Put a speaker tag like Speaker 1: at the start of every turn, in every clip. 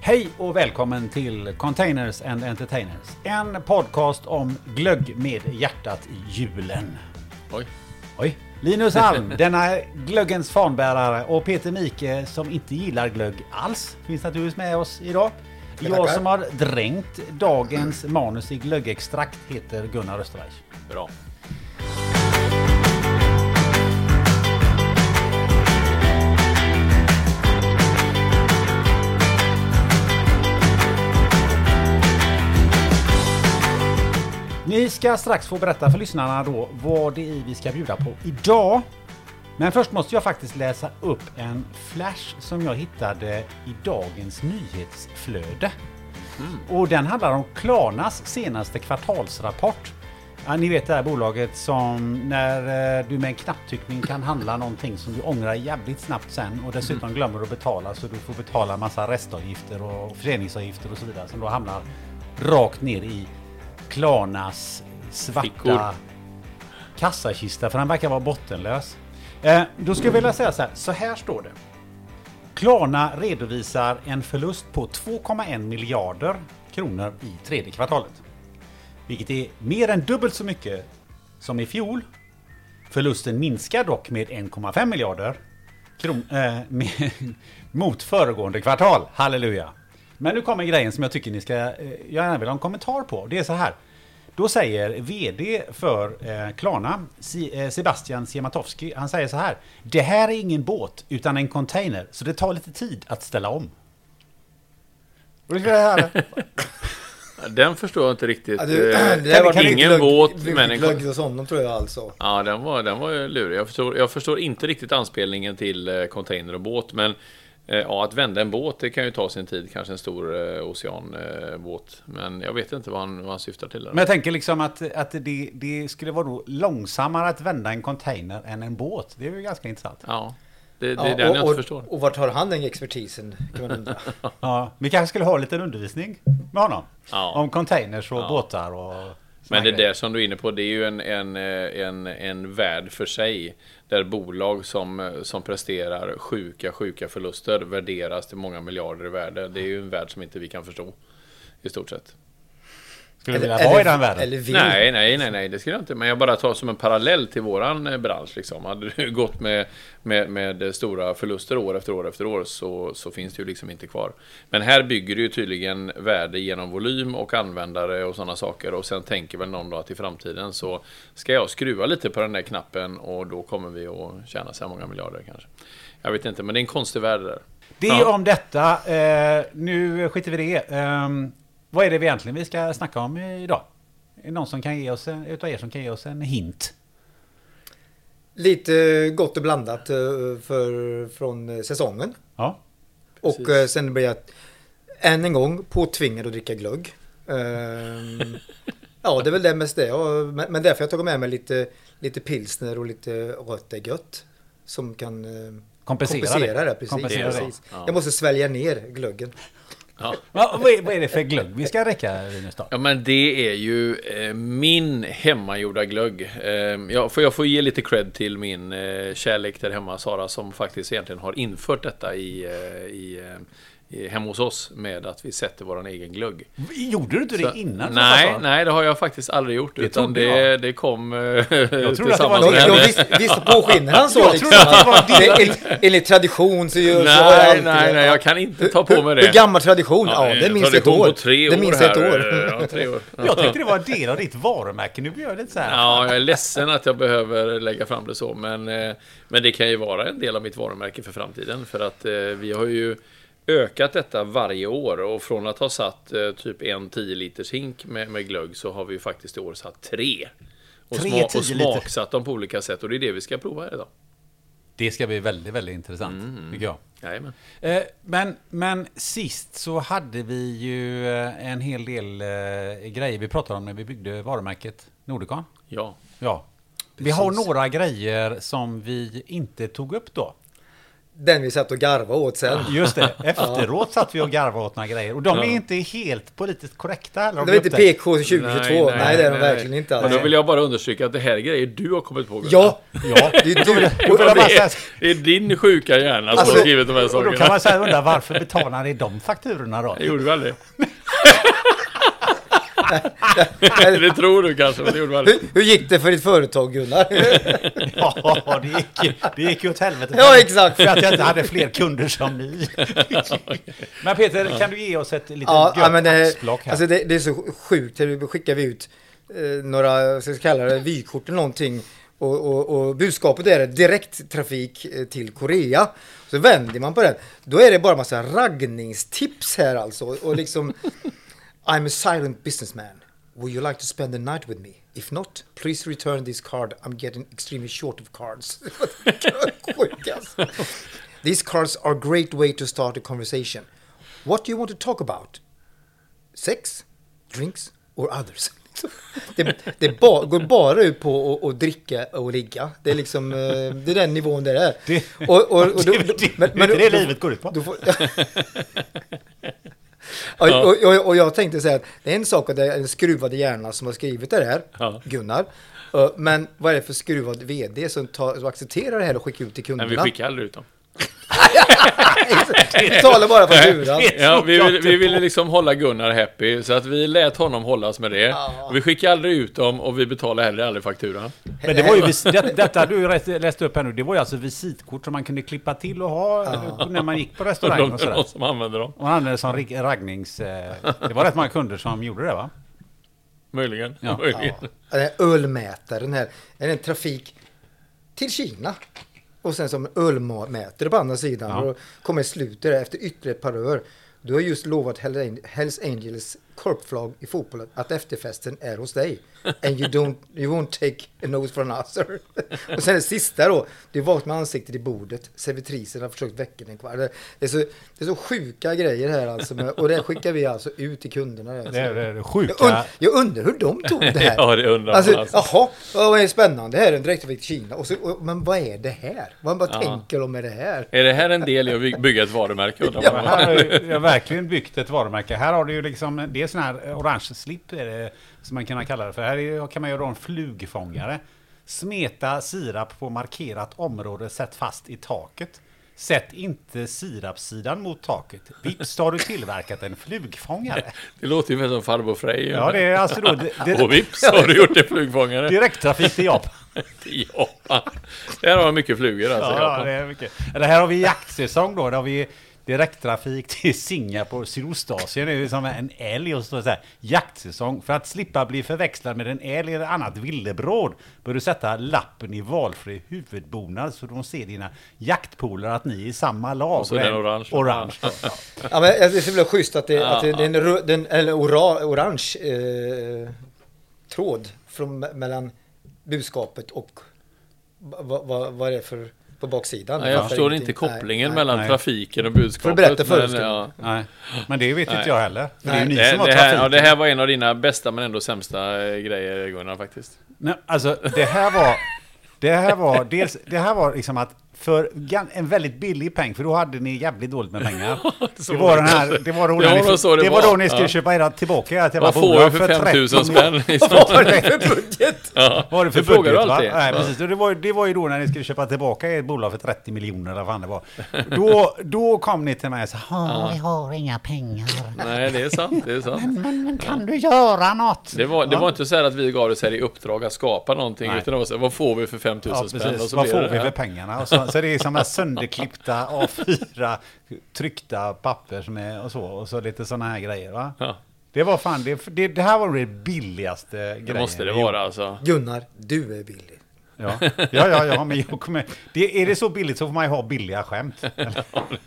Speaker 1: Hej och välkommen till Containers and Entertainers. En podcast om glögg med hjärtat i julen.
Speaker 2: Oj.
Speaker 1: Oj. Linus Alm, denna glöggens fanbärare och Peter Mike som inte gillar glögg alls finns naturligtvis med oss idag. Jag
Speaker 2: tackar.
Speaker 1: som har dränkt dagens manus i glöggextrakt heter Gunnar Österberg.
Speaker 2: Bra.
Speaker 1: Ni ska strax få berätta för lyssnarna då vad det är vi ska bjuda på idag. Men först måste jag faktiskt läsa upp en flash som jag hittade i dagens nyhetsflöde. Och den handlar om Klarnas senaste kvartalsrapport. Ja, ni vet det här bolaget som när eh, du med en knapptryckning kan handla någonting som du ångrar jävligt snabbt sen och dessutom glömmer att betala så du får betala massa restavgifter och föreningsavgifter och så vidare som då hamnar rakt ner i Klarnas svarta
Speaker 2: Fickor.
Speaker 1: kassakista för den verkar vara bottenlös. Eh, då skulle jag vilja säga så här, så här står det. Klarna redovisar en förlust på 2,1 miljarder kronor i tredje kvartalet. Vilket är mer än dubbelt så mycket som i fjol. Förlusten minskar dock med 1,5 miljarder kron- eh, med, mot föregående kvartal. Halleluja! Men nu kommer grejen som jag tycker ni ska eh, jag gärna vill ha en kommentar på. Det är så här. Då säger VD för eh, Klarna, Si- eh, Sebastian Siemiatowski, han säger så här. Det här är ingen båt utan en container, så det tar lite tid att ställa om. Och det ska jag höra.
Speaker 2: Den förstår jag inte riktigt.
Speaker 3: Ja,
Speaker 2: Eh,
Speaker 3: du, det
Speaker 1: kan
Speaker 3: här var
Speaker 1: inte
Speaker 2: Ingen
Speaker 3: glögg-
Speaker 2: båt,
Speaker 3: det blev
Speaker 2: men en
Speaker 3: glögg hos honom tror jag alltså.
Speaker 2: Ja, den var, den var ju lurig. Jag förstår, jag förstår inte riktigt anspelningen till eh, container och båt, men eh, ja, att vända en båt, det kan ju ta sin tid. Kanske en stor eh, oceanbåt. Men jag vet inte vad han, vad han syftar till. Där.
Speaker 1: Men jag tänker liksom att, att det, det skulle vara då långsammare att vända en container än en båt. Det är ju ganska intressant.
Speaker 2: ja, det, det
Speaker 3: Ja,
Speaker 2: är den jag inte
Speaker 3: och,
Speaker 2: förstår.
Speaker 3: och, och vart har han den expertisen? Kan man undra.
Speaker 1: Ja, vi kanske skulle ha lite undervisning med honom.
Speaker 2: Ja.
Speaker 1: Om containers och båtar och såna
Speaker 2: Men det
Speaker 1: grejer.
Speaker 2: där som du är inne på, det är ju en, en, eh, en, en värld för sig. Där bolag som, eh, som presterar sjuka, sjuka förluster värderas till många miljarder i värde. Det är ju en värld som inte vi kan förstå. I stort sett.
Speaker 1: Skulle du vilja vara i den världen?
Speaker 3: Eller vill.
Speaker 2: Nej, nej, nej, nej, det skulle jag inte. Men jag bara tar som en parallell till våran eh, bransch. Liksom. Hade du gått med, med, med stora förluster år efter år efter år så, så finns det ju liksom inte kvar. Men här bygger det ju tydligen värde genom volym och användare och sådana saker. Och sen tänker väl någon då att i framtiden så ska jag skruva lite på den där knappen och då kommer vi att tjäna så här många miljarder kanske. Jag vet inte, men det är en konstig värld det där.
Speaker 1: Det
Speaker 2: Ja.
Speaker 1: om detta. Eh, nu skiter vi i det. Ehm, vad är det vi egentligen vi ska snacka om idag? Är det någon som kan ge oss en, utav er som kan ge oss en hint?
Speaker 3: Lite gott och blandat eh, för, från eh, säsongen.
Speaker 1: Ja.
Speaker 3: Och eh, sen blir jag än en gång påtvingad att dricka glögg. Ehm, ja, det är väl det mest det. Ja, men, men därför har jag tagit med mig lite, lite pilsner och lite rött är gött. Som kan eh,
Speaker 1: Kompensera det.
Speaker 3: kompensera det. Precis,
Speaker 1: Kompensera
Speaker 2: det.
Speaker 3: precis.
Speaker 2: Ja.
Speaker 3: Jag måste svälja ner glöggen.
Speaker 2: Ja.
Speaker 1: Va, vad, är, vad är det för glögg vi ska räcka Linus då?
Speaker 2: Ja, men det är ju eh, min hemmagjorda glögg. Eh, jag, får, jag får ge lite cred till min eh, kärlek där hemma, Sara, som faktiskt egentligen har infört detta i, eh, i, eh, i, hemma hos oss med att vi sätter våran egen glögg.
Speaker 1: Gjorde du inte det innan? som jag
Speaker 2: nej,
Speaker 1: sa?
Speaker 2: nej, det har jag faktiskt aldrig gjort. Det utan
Speaker 1: trodde
Speaker 2: det, det kom eh,
Speaker 1: trodde att det var
Speaker 2: tillsammans
Speaker 1: något-
Speaker 2: med
Speaker 3: Jag, jag
Speaker 2: henne.
Speaker 3: visste, visste på skinnen han
Speaker 1: Jag
Speaker 3: sa liksom.
Speaker 1: trodde att det var
Speaker 3: att det- en- Enligt tradition så gör så har jag
Speaker 2: Nej,
Speaker 3: alltid
Speaker 2: nej,
Speaker 3: det.
Speaker 2: nej, jag kan inte ta på mig
Speaker 3: Hur, hur
Speaker 2: det.
Speaker 3: gammal tradition? Ja, det minns ett
Speaker 2: tog
Speaker 3: år.
Speaker 2: på tre
Speaker 3: det
Speaker 2: år
Speaker 3: minns
Speaker 2: här. eh,
Speaker 3: ett år.
Speaker 2: Ja, tre år.
Speaker 1: Jag tyckte det var en del av ditt varumärke. Nu blir jag lite så här.
Speaker 2: Ja, jag är ledsen att jag behöver lägga fram det så, men, eh, men det kan ju vara en del av mitt varumärke för framtiden. För att eh, vi har ju ökat detta varje år och från att ha satt eh, typ en 10 liters hink med, med glögg så har vi ju faktiskt i år satt tre. Och,
Speaker 1: Tre
Speaker 2: sma-
Speaker 1: 10
Speaker 2: och
Speaker 1: liter.
Speaker 2: smaksatt dem på olika sätt och det är det vi ska prova här idag.
Speaker 1: Det ska bli väldigt, väldigt intressant,
Speaker 2: Mm.
Speaker 1: tycker jag.
Speaker 2: Jajamän.
Speaker 1: Eh, Men, men sist så hade vi ju eh, en hel del eh, grejer vi pratade om när vi byggde varumärket Nordicon.
Speaker 2: Ja.
Speaker 1: Ja. Vi har några grejer som vi inte tog upp då.
Speaker 3: den vi satt och garvade åt sen.
Speaker 1: Just det, efteråt satt vi och garvade åt några grejer. Och de är inte helt politiskt korrekta heller. har
Speaker 3: Det
Speaker 1: vi
Speaker 3: är inte
Speaker 1: upptäckt.
Speaker 3: PK 2022. Nej, det är de verkligen inte
Speaker 2: alls.
Speaker 3: alls.
Speaker 2: Då vill jag bara understryka att det här är grejer du har kommit på. Gunnar.
Speaker 3: Ja,
Speaker 1: Ja.
Speaker 3: det är du.
Speaker 1: Och
Speaker 2: Det
Speaker 1: då bara så
Speaker 2: är,
Speaker 1: här-
Speaker 2: det är din sjuka hjärna som
Speaker 3: Alltså,
Speaker 2: har skrivit de här
Speaker 1: Och då kan
Speaker 2: sakerna.
Speaker 1: man säga undra varför betalar ni de fakturorna då?
Speaker 2: Det gjorde vi aldrig. det tror du kanske, men det gjorde vi aldrig.
Speaker 3: Hur, hur gick det för ditt företag Gunnar?
Speaker 1: Ja, det gick, ju- det gick ju åt helvete.
Speaker 3: Ja, exakt.
Speaker 1: För att jag inte hade fler kunder som ni. Men Peter, kan du ge oss ett litet
Speaker 3: Ja, ja,
Speaker 1: gött
Speaker 3: men det,
Speaker 1: axplock här?
Speaker 3: alltså det, det är så sjukt. Nu skickar vi ut eh, några, vad ska vi kalla det, vykort eller någonting. Och, och, och budskapet är direkttrafik eh, till Korea. Så vänder man på den. Då är det bara massa raggningstips här alltså. Och liksom, I'm a silent businessman. Would you like to spend the night with me? If not, please return this card. I'm getting extremely short of cards. Sjukt, alltså. These cards are a great way to start a conversation. What do you want to talk about? sex, drinks or others. Det, det ba, går bara ut på att, att dricka och ligga. Det är liksom eh, det är den nivån det är.
Speaker 1: Det-
Speaker 3: och, och, och
Speaker 1: det är väl det- det är det livet går ut på.
Speaker 3: du får- och, och, och, och jag tänkte säga att det är en sak att det är en skruvad hjärna som har skrivit det här,
Speaker 2: Ja.
Speaker 3: Gunnar. Eh, Men vad är det för skruvad vd som, tar, som accepterar det här och skickar ut till kunderna?
Speaker 2: Men vi skickar aldrig ut dem.
Speaker 3: Vi talar bara för luran.
Speaker 2: Ja, vi,
Speaker 1: såklart
Speaker 2: vill, vi ville liksom hålla Gunnar happy, så att vi lät honom hållas med det. Och vi skickade aldrig ut dem och vi betalade heller aldrig fakturan.
Speaker 1: Men det var ju vis- det, detta du rätt- läste upp här nu, det var ju alltså visitkort som man kunde klippa till och ha eh, när man gick på
Speaker 2: De,
Speaker 1: restaurang och sådär.
Speaker 2: de som använder dem,
Speaker 1: Och man använde det som rig- raggnings... eh, Det var rätt många kunder som gjorde det va?
Speaker 2: möjligen.
Speaker 1: Ja.
Speaker 2: möjligen.
Speaker 3: Ja, Den här ölmätaren här. Är det en trafik till Kina? Och sen som ölmätare på andra sidan.
Speaker 1: Ja.
Speaker 3: Och kommer i slutet där efter ytterligare ett par öl. Du har just lovat Hell- Hells Angels korpflag i fotbollen att efterfesten är hos dig. And you, don't, you won't take a nose for an answer. Och sen det sista då. Du vaknar med ansiktet i bordet. Servitrisen har försökt väcka den kvar. Det det är så, det är så sjuka grejer här alltså. med- Och det skickar vi alltså ut till kunderna.
Speaker 1: Det är det är
Speaker 3: Jag, und
Speaker 1: sjuka...
Speaker 3: jag undrar hur de tog det här.
Speaker 2: Ja, det undrar man
Speaker 3: alltså,
Speaker 2: alltså.
Speaker 3: Jaha, ja, vad är spännande. Det här är en direkttrafik till Kina. Och så, och, men vad är det här? Vad, vad
Speaker 2: Ja.
Speaker 3: tänker de med det här?
Speaker 2: Är det här en del i att by- bygga ett varumärke? undrar
Speaker 1: Men
Speaker 2: man?
Speaker 1: Här har ju- jag har verkligen byggt ett varumärke. Här har du ju liksom, det är sån här eh, orange slip är det, som man kan kalla det för. Här är, kan man göra en flugfångare. Smeta sirap på markerat område, sätt fast i taket. Sätt inte sirapssidan mot taket. Vips har du tillverkat en flugfångare.
Speaker 2: Det låter ju mer som farbror Frej.
Speaker 1: Ja, det är alltså då di- di-
Speaker 2: Och vips har du gjort en flugfångare
Speaker 1: direkttrafik till Japan.
Speaker 2: i Japan. Där har man mycket flugor alltså. i
Speaker 1: Ja, ja,
Speaker 2: Japan.
Speaker 1: det är mycket. Eller här har vi jaktsäsong då. Där har vi direkttrafik till Singapore, Sydostasien. Det är ju som en älg och så står det så här. Jaktsäsong. För att slippa bli förväxlad med en älg eller annat villebråd bör du sätta lappen i valfri huvudbonad så de ser dina jaktpolare att ni är i samma lag.
Speaker 2: Och så den
Speaker 1: en
Speaker 2: orange.
Speaker 1: orange då.
Speaker 3: Ja, men, alltså, det är så himla schysst att det, att det, det är en, rö- den, eller ora, orange eh, tråd från, mellan budskapet och vad va, va, vad är det för på baksidan.
Speaker 2: Nej,
Speaker 3: Jag
Speaker 2: jag
Speaker 3: fattar
Speaker 2: förstår
Speaker 3: ingenting.
Speaker 2: inte kopplingen
Speaker 3: Nej, nej.
Speaker 2: mellan
Speaker 1: nej.
Speaker 2: trafiken och budskapet.
Speaker 3: Får du berätta för oss,
Speaker 2: men, eh, ja.
Speaker 1: Nej, men det vet
Speaker 2: Nej.
Speaker 1: inte jag heller. För det är ju ni
Speaker 2: det,
Speaker 1: som har
Speaker 2: det, här, ja,
Speaker 1: trafiken.
Speaker 2: det här var en av dina bästa men ändå sämsta eh, grejer Gunnar faktiskt.
Speaker 1: Nej, alltså det här var... Det här var, dels, det här var liksom att för gan- en väldigt billig peng, för då hade ni jävligt dåligt med pengar.
Speaker 2: Så
Speaker 1: Det
Speaker 2: var
Speaker 1: var,
Speaker 2: det
Speaker 1: den här,
Speaker 2: kanske.
Speaker 1: det var då,
Speaker 2: Det
Speaker 1: när
Speaker 2: var nog så det
Speaker 1: ni, det var
Speaker 2: var.
Speaker 1: då ni skulle
Speaker 2: Ja.
Speaker 1: köpa era tillbaka era
Speaker 2: Vad får du för 5000 spänn? i sånt?
Speaker 1: Vad var det?
Speaker 3: Budget!
Speaker 2: Ja.
Speaker 1: Vad var det för
Speaker 2: Det frågar
Speaker 1: budget?
Speaker 2: du
Speaker 1: Va?
Speaker 2: alltid.
Speaker 1: Nej, precis. Och Det, var, ju- det var ju då när ni skulle köpa tillbaka ert bolag för 30 miljoner eller vad fan det var. Då, då kom ni till mig och sa, "Ja, vi har inga pengar.
Speaker 2: Nej, det är sant. Det är sant.
Speaker 1: Men, men kan du göra något?
Speaker 2: Det var, det var inte så här att vi gav det så här i uppdrag att skapa någonting,
Speaker 1: Nej.
Speaker 2: utan det var så här, vad får vi för 5000
Speaker 1: Ja,
Speaker 2: spänn? Och
Speaker 1: precis.
Speaker 2: så
Speaker 1: Vad
Speaker 2: blir
Speaker 1: får
Speaker 2: det
Speaker 1: vi
Speaker 2: det här.
Speaker 1: för pengarna? Och så, så det är som här sönderklippta A4 tryckta papper som är och så. Och så lite sådana här grejer va?
Speaker 2: Ja.
Speaker 1: Det var fan, det, det, det här var det billigaste grejen.
Speaker 2: Det måste det
Speaker 1: vi
Speaker 2: vara alltså.
Speaker 3: Gunnar, du är billig.
Speaker 1: Ja, ja, ja, ja men jag kommer... Det, är det så billigt så får man ju ha billiga skämt. Eller,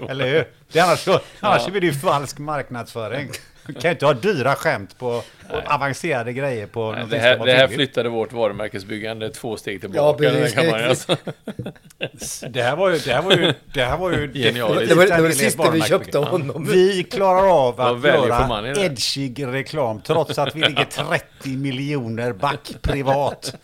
Speaker 1: eller hur? Det är annars så, annars blir det ju falsk marknadsföring. Du kan ju inte ha dyra skämt på och avancerade grejer på
Speaker 2: Nej,
Speaker 1: någonting
Speaker 2: Det
Speaker 1: som
Speaker 2: här,
Speaker 1: var
Speaker 2: det här
Speaker 1: billigt.
Speaker 2: flyttade vårt varumärkesbyggande två steg
Speaker 3: Ja,
Speaker 2: tillbaka. i den här
Speaker 3: precis.
Speaker 2: kammaren, alltså.
Speaker 1: Det här var ju... Det här var ju... Det här var ju
Speaker 2: Genialiskt.
Speaker 1: definitivt
Speaker 3: Det var det,
Speaker 1: en
Speaker 3: var det
Speaker 1: del i ett
Speaker 3: sista vi
Speaker 1: varumärke.
Speaker 3: köpte av honom.
Speaker 1: Vi klarar av
Speaker 2: Vad
Speaker 1: att
Speaker 2: väljer för
Speaker 1: göra
Speaker 2: man i det?
Speaker 1: edgig reklam trots att vi ligger 30 miljoner back privat.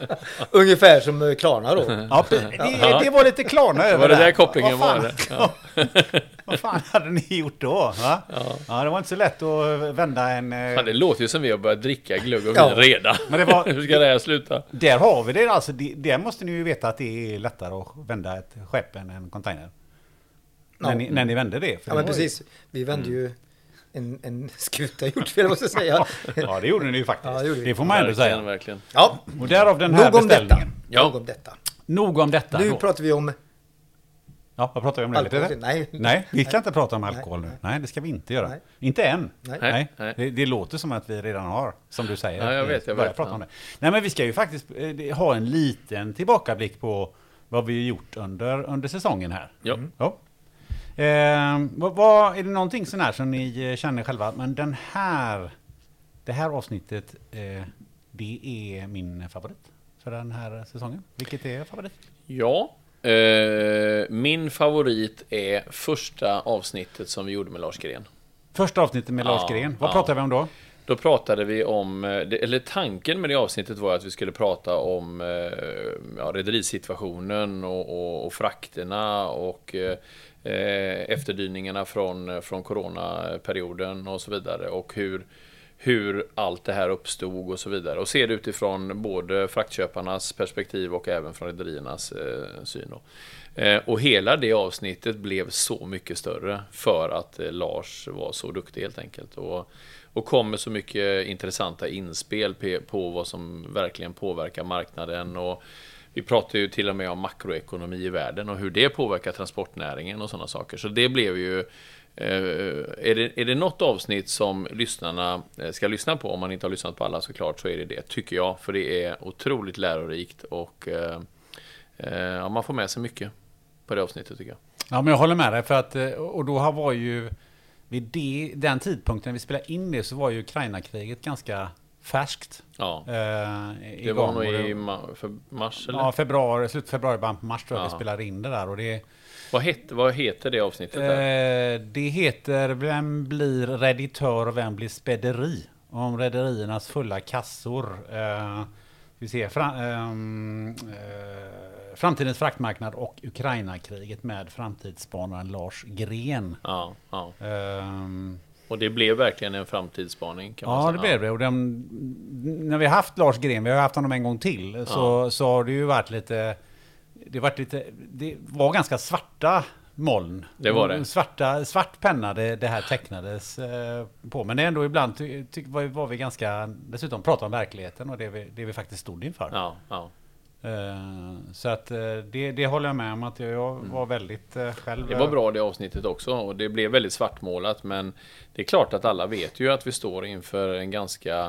Speaker 3: Ungefär som eh, Klarna då.
Speaker 1: Ja, det, det var lite Klarna över
Speaker 2: Var det
Speaker 1: där.
Speaker 2: där kopplingen
Speaker 1: Vad fan-
Speaker 2: var? Det?
Speaker 1: Vad fan hade ni gjort då? Va? Ja. det var inte så lätt att vända en... eh,
Speaker 2: Fan, det låter ju som vi har börjat dricka glögg och vin
Speaker 3: Ja.
Speaker 2: redan.
Speaker 1: Men det var-
Speaker 2: Hur ska det här sluta?
Speaker 1: Där har vi det alltså. Det, där måste ni ju veta att det är lättare att vända ett skepp än en container. När,
Speaker 3: Ja.
Speaker 1: ni, när ni vände det. för
Speaker 3: Ja
Speaker 1: det
Speaker 3: men
Speaker 1: var ju-
Speaker 3: precis. Vi vände
Speaker 1: Mm.
Speaker 3: ju en, en skuta gjort fel måste jag säga.
Speaker 1: Ja, det gjorde ni ju faktiskt.
Speaker 3: Ja, det
Speaker 1: det,
Speaker 3: gjorde vi.
Speaker 1: får man ändå
Speaker 2: Verkligen,
Speaker 1: säga.
Speaker 2: verkligen.
Speaker 3: Ja,
Speaker 1: Och därav den här
Speaker 3: nog om detta.
Speaker 1: beställningen.
Speaker 2: Ja.
Speaker 3: Nog om detta.
Speaker 1: Nog om detta.
Speaker 3: Nu
Speaker 1: då.
Speaker 3: pratar vi om...
Speaker 1: Ja, vad pratar vi om nu?
Speaker 3: Alkohol,
Speaker 1: Lite?
Speaker 3: nej.
Speaker 1: nej, vi kan inte prata om alkohol nu. Nej, det ska vi inte göra.
Speaker 3: Nej.
Speaker 1: Inte än.
Speaker 3: Nej.
Speaker 2: Nej.
Speaker 1: Det, det låter som att vi redan har, som du säger.
Speaker 2: Ja, jag vet,
Speaker 1: Vi ska
Speaker 2: jag
Speaker 1: börja
Speaker 2: vet,
Speaker 1: prata
Speaker 2: ja.
Speaker 1: om det. Nej, men vi ska ju faktiskt eh, ha en liten tillbakablick på vad vi har gjort under, under säsongen här. Mm.
Speaker 2: Ja.
Speaker 1: Ja. Eh, vad, vad, är det någonting sån här som ni eh, känner själva, att, men den här, det här avsnittet, eh, det är min favorit för den här säsongen? Vilket är favorit?
Speaker 2: Ja. Eh, min favorit är första avsnittet som vi gjorde med Lars Gren.
Speaker 1: Första avsnittet med Lars
Speaker 2: Ja,
Speaker 1: Gren, vad
Speaker 2: ja.
Speaker 1: pratar vi om då?
Speaker 2: Då pratade vi om, eh, det- eller tanken med det avsnittet var att vi skulle prata om eh, ja, rederisituationen och, och, och frakterna och eh, eh, efterdyningarna från, från coronaperioden och så vidare. Och hur, hur allt det här uppstod och så vidare. Och se det utifrån både fraktköparnas perspektiv och även från rederiernas eh, syn. Då. Eh, och hela det avsnittet blev så mycket större för att eh, Lars var så duktig helt enkelt. Och, och kom med så mycket intressanta inspel pe- på vad som verkligen påverkar marknaden. Och vi pratar ju till och med om makroekonomi i världen och hur det påverkar transportnäringen och sådana saker. Så det blev ju... eh, Är det, är det något avsnitt som lyssnarna eh, ska lyssna på, om man inte har lyssnat på alla såklart, så är det det, tycker jag. För det är otroligt lärorikt och eh, eh, ja, man får med sig mycket på det avsnittet tycker jag.
Speaker 1: Ja, men jag håller med dig. För att, eh, och då här var ju, vid det, den tidpunkten vi spelade in det så var ju Ukraina-kriget ganska färskt.
Speaker 2: Ja,
Speaker 1: eh,
Speaker 2: det
Speaker 1: igång.
Speaker 2: var nog
Speaker 1: Och det-
Speaker 2: i ma- för mars eller?
Speaker 1: Ja, februari, slut februari, början på mars tror jag vi
Speaker 2: Ja.
Speaker 1: spelade in det där. Och det,
Speaker 2: Vad, het, vad heter det avsnittet? där?
Speaker 1: eh, det heter Vem blir redditör och vem blir spederi? Om rederiernas fulla kassor. Eh, vi ser, fra, ehm, eh, framtidens fraktmarknad och Ukraina-kriget med framtidsspanaren Lars Gren.
Speaker 2: Ja, ja.
Speaker 1: Ehm,
Speaker 2: Och det blev verkligen en framtidsspaning. Kan man
Speaker 1: Ja,
Speaker 2: säga.
Speaker 1: det blev det. Och den, när vi har haft Lars Gren, vi har haft honom en gång till, så, så har det ju varit lite... Det, har varit lite, det var ganska svarta moln.
Speaker 2: Det var det.
Speaker 1: Svarta, svart penna det, det här tecknades eh, på. Men det är ändå ibland ty, ty, var, var vi ganska... Dessutom pratade om verkligheten och det vi, det vi faktiskt stod inför.
Speaker 2: Ja, ja.
Speaker 1: Eh, så att eh, det, det håller jag med om att jag, jag var väldigt eh, själv...
Speaker 2: Det var bra det avsnittet också och det blev väldigt svartmålat men det är klart att alla vet ju att vi står inför en ganska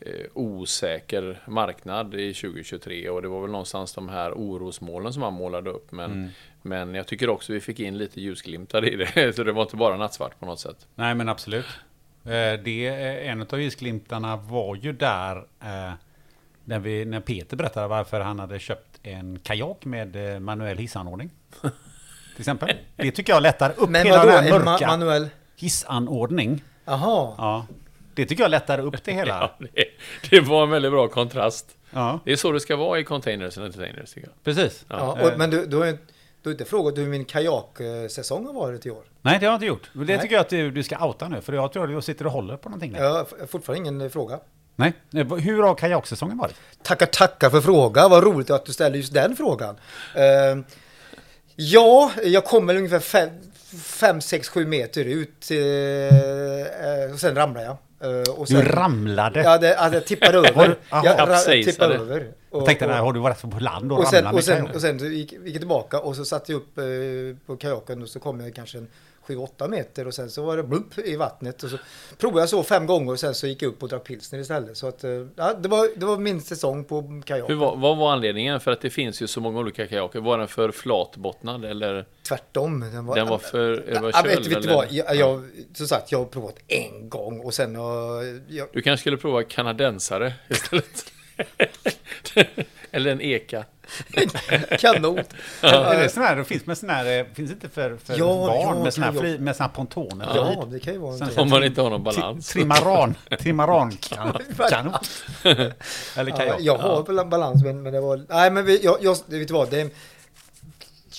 Speaker 2: eh, osäker marknad i 2023 och det var väl någonstans de här orosmålen som han målade upp men, men jag tycker också vi fick in lite ljusglimtar i det så det var inte bara nattsvart på något sätt.
Speaker 1: Nej, men absolut. Eh, Det, eh, en av ljusglimtarna var ju där eh, när, vi, när Peter berättade varför han hade köpt en kajak med eh, manuell hissanordning. Till exempel. Det tycker jag lättar upp
Speaker 3: Men
Speaker 1: hela
Speaker 3: vadå?
Speaker 1: den här
Speaker 3: En ma-
Speaker 1: mörka
Speaker 3: manuell...
Speaker 1: hissanordning.
Speaker 3: Jaha.
Speaker 1: Ja, det tycker jag lättar upp det hela.
Speaker 2: Ja, det, det var en väldigt bra kontrast.
Speaker 1: Ja,
Speaker 2: Det är så det ska vara i containers and entertainers tycker jag.
Speaker 1: precis.
Speaker 3: Ja, och, men du, du, har, ju- du har inte frågat hur min kajaksäsong har varit i år?
Speaker 1: Nej, det har jag inte gjort. Men Det
Speaker 3: Nej.
Speaker 1: tycker jag att du, du ska outa nu, för jag tror att du sitter och håller på någonting. Där.
Speaker 3: Jag har f- fortfarande ingen eh, fråga.
Speaker 1: Nej, eh, hur har kajaksäsongen varit?
Speaker 3: Tackar, tackar för frågan. Vad roligt att du ställer just den frågan. Eh, ja, jag kom väl ungefär 5, 6, 7 meter ut. eh, eh, och sen ramlade jag. Eh, och
Speaker 1: Du
Speaker 3: sen,
Speaker 1: ramlade.
Speaker 3: Ja, det, alltså, jag tippade över.
Speaker 1: Jaha.
Speaker 3: jag ra-
Speaker 2: Kapsejsade.
Speaker 3: tippade över. Och,
Speaker 1: jag tänkte,
Speaker 3: och-
Speaker 1: nej, har du varit på land och,
Speaker 3: och sen,
Speaker 1: ramlat
Speaker 3: och
Speaker 1: med
Speaker 3: sen,
Speaker 1: kajak?
Speaker 3: och sen så gick, gick jag tillbaka och så satte jag upp eh, på kajaken och så kom jag kanske en 7-8 meter och sen så var det blump i vattnet. Och så provade jag så fem gånger och sen så gick jag upp och drack pilsner istället. Så att, eh, ja, det, var, det var min säsong på kajak.
Speaker 2: Hur, var- vad var anledningen? För att det finns ju så många olika kajaker. Var den för flatbottnad eller?
Speaker 3: Tvärtom. Den var,
Speaker 2: Den var för över
Speaker 3: Ja,
Speaker 2: köl,
Speaker 3: vet, vet du
Speaker 2: eller?
Speaker 3: vad? Jag, jag, som sagt, jag har provat en gång och sen har jag...
Speaker 2: Du kanske skulle prova kanadensare istället. eller en eka.
Speaker 3: Kanot!
Speaker 1: Är det sån här, det finns, med sån här, eh, finns inte för, för
Speaker 3: Ja,
Speaker 1: barn
Speaker 3: ja,
Speaker 1: med, sån här
Speaker 3: kan jag-
Speaker 1: fri, med sån här pontoner?
Speaker 3: Ja, det kan ju vara
Speaker 1: Sen-
Speaker 3: en
Speaker 2: Om man inte har någon balans.
Speaker 1: Trimaran, trimarankanot. Eller
Speaker 3: Ja,
Speaker 1: kajak.
Speaker 3: jag har bal- balans, men, men det var... Nej, men vi, jag, jag, vet du vad? Det är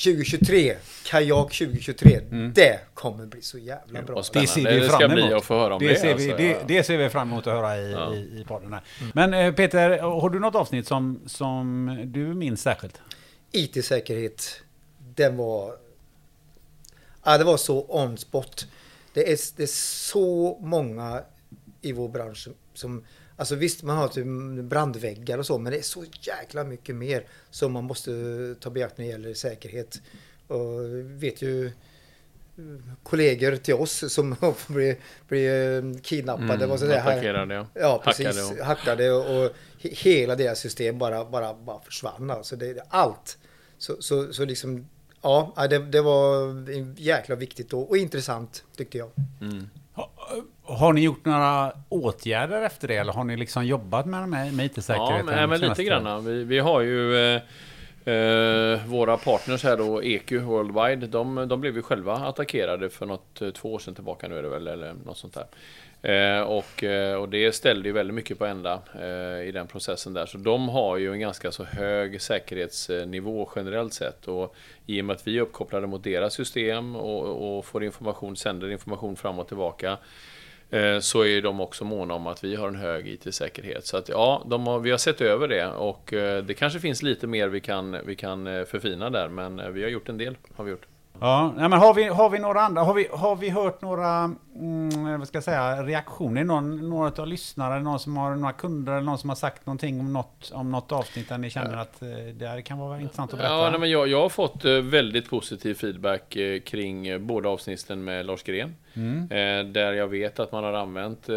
Speaker 3: 2023, kajak 2023, det kommer bli så jävla bra.
Speaker 2: Vad spännande.
Speaker 1: Det ser vi
Speaker 2: Det ska
Speaker 1: fram
Speaker 2: bli
Speaker 1: emot.
Speaker 2: att få höra om det,
Speaker 1: ser vi,
Speaker 2: alltså,
Speaker 1: det,
Speaker 2: ja.
Speaker 1: det ser vi fram emot att höra i, i, i podden här. Men eh, Peter, har du något avsnitt som, som du minns särskilt?
Speaker 3: IT-säkerhet, den var... Ja, det var så on spot. Det är, det är så många i vår bransch som- som... Alltså visst, man har typ brandväggar och så, men det är så jäkla mycket mer som man måste ta beaktning när det gäller säkerhet. Och vi vet ju kollegor till oss som blir, blir eh, kidnappade. och sådär.
Speaker 2: Mm, attackerade, ja.
Speaker 3: Ja, precis.
Speaker 2: Hackade
Speaker 3: Hackade och, och he- hela deras system bara, bara, bara försvann. Alltså det, det- allt. Så, så, så liksom, ja, ja, det, det var jäkla viktigt och, och intressant tyckte jag.
Speaker 1: Ha- Har ni gjort några åtgärder efter det eller har ni liksom jobbat med, de här- med
Speaker 2: Ja,
Speaker 1: IT-säkerheten?
Speaker 2: men, nej, men
Speaker 1: senaste
Speaker 2: lite
Speaker 1: tiden?
Speaker 2: granna. Vi, vi har ju eh, eh, våra partners här då, EQ Worldwide. De, de blev ju själva attackerade för något, eh, två år sedan tillbaka nu är det väl, eller något sånt där. Eh, och, eh, och det ställde ju väldigt mycket på ända eh, i den processen där. Så de har ju en ganska så hög säkerhetsnivå generellt sett. Och i och med att vi är uppkopplade mot deras system och, och får information, sänder information fram och tillbaka eh, så är ju de också måna om att vi har en hög IT-säkerhet. Så att, ja, de har, vi har sett över det och eh, det kanske finns lite mer vi kan, vi kan eh, förfina där, men eh, vi har gjort en del. Har vi gjort.
Speaker 1: Ja, nej, men har vi, har vi några andra? Har vi, har vi hört några mm, vad ska jag säga, reaktioner? Någon, några av lyssnare, någon som har några kunder eller någon som har sagt någonting om något, om något avsnitt där ni känner att eh, det här kan vara intressant att berätta?
Speaker 2: Ja, nej, men jag, jag har fått eh, väldigt positiv feedback eh, kring eh, båda avsnitten med Lars Gren.
Speaker 1: Mm.
Speaker 2: Eh, Där jag vet att man har använt eh,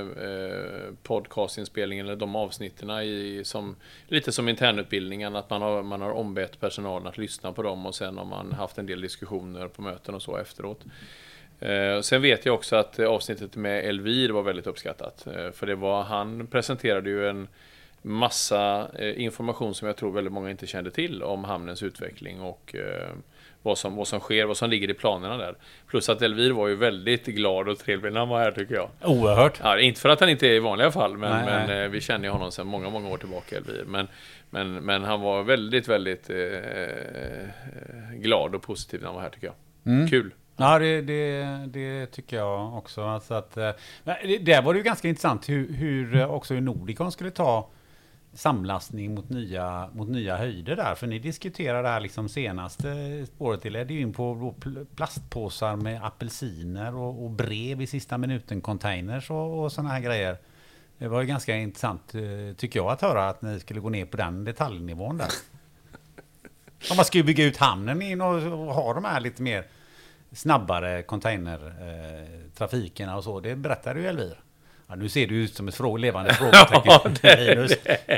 Speaker 2: eh, podcastinspelningen, eller de avsnitten, i, som, lite som internutbildningen. Att man har, man har ombett personalen att lyssna på dem och sen har man haft en del diskussioner på möten och så efteråt. Eh, Sen vet jag också att eh, avsnittet med Elvir var väldigt uppskattat. eh, För det var, han presenterade ju en massa eh, information som jag tror väldigt många inte kände till om hamnens utveckling och eh, vad, som, vad som sker, vad som ligger i planerna där. Plus att Elvir var ju väldigt glad och trevlig när han var här tycker jag.
Speaker 1: Oerhört.
Speaker 2: Ja, inte för att han inte är i vanliga fall, men,
Speaker 1: Nej,
Speaker 2: men
Speaker 1: nej.
Speaker 2: eh, vi känner ju honom sedan många, många år tillbaka, Elvir. Men, men, men han var väldigt, väldigt eh, eh, glad och positiv när han var här tycker jag.
Speaker 1: Mm.
Speaker 2: Kul!
Speaker 1: Ja, det, det, det tycker jag också. Alltså att, eh, nej, det- där var det ju ganska intressant hur, hur eh, också hur Nordicon skulle ta samlastning mot nya, mot nya höjder där. För ni diskuterar det här liksom senaste spåret. Det ledde ju in på då pl- plastpåsar med apelsiner och, och brev i sista minuten containers och, och sådana här grejer. Det var ju ganska intressant eh, tycker jag att höra att ni skulle gå ner på den detaljnivån där. Om man ska ju bygga ut hamnen in och, och ha de här lite mer snabbare containertrafikerna och så. Det berättade ju Elvir. Ja, nu ser du ut som ett frå levande frågetecken. Linus.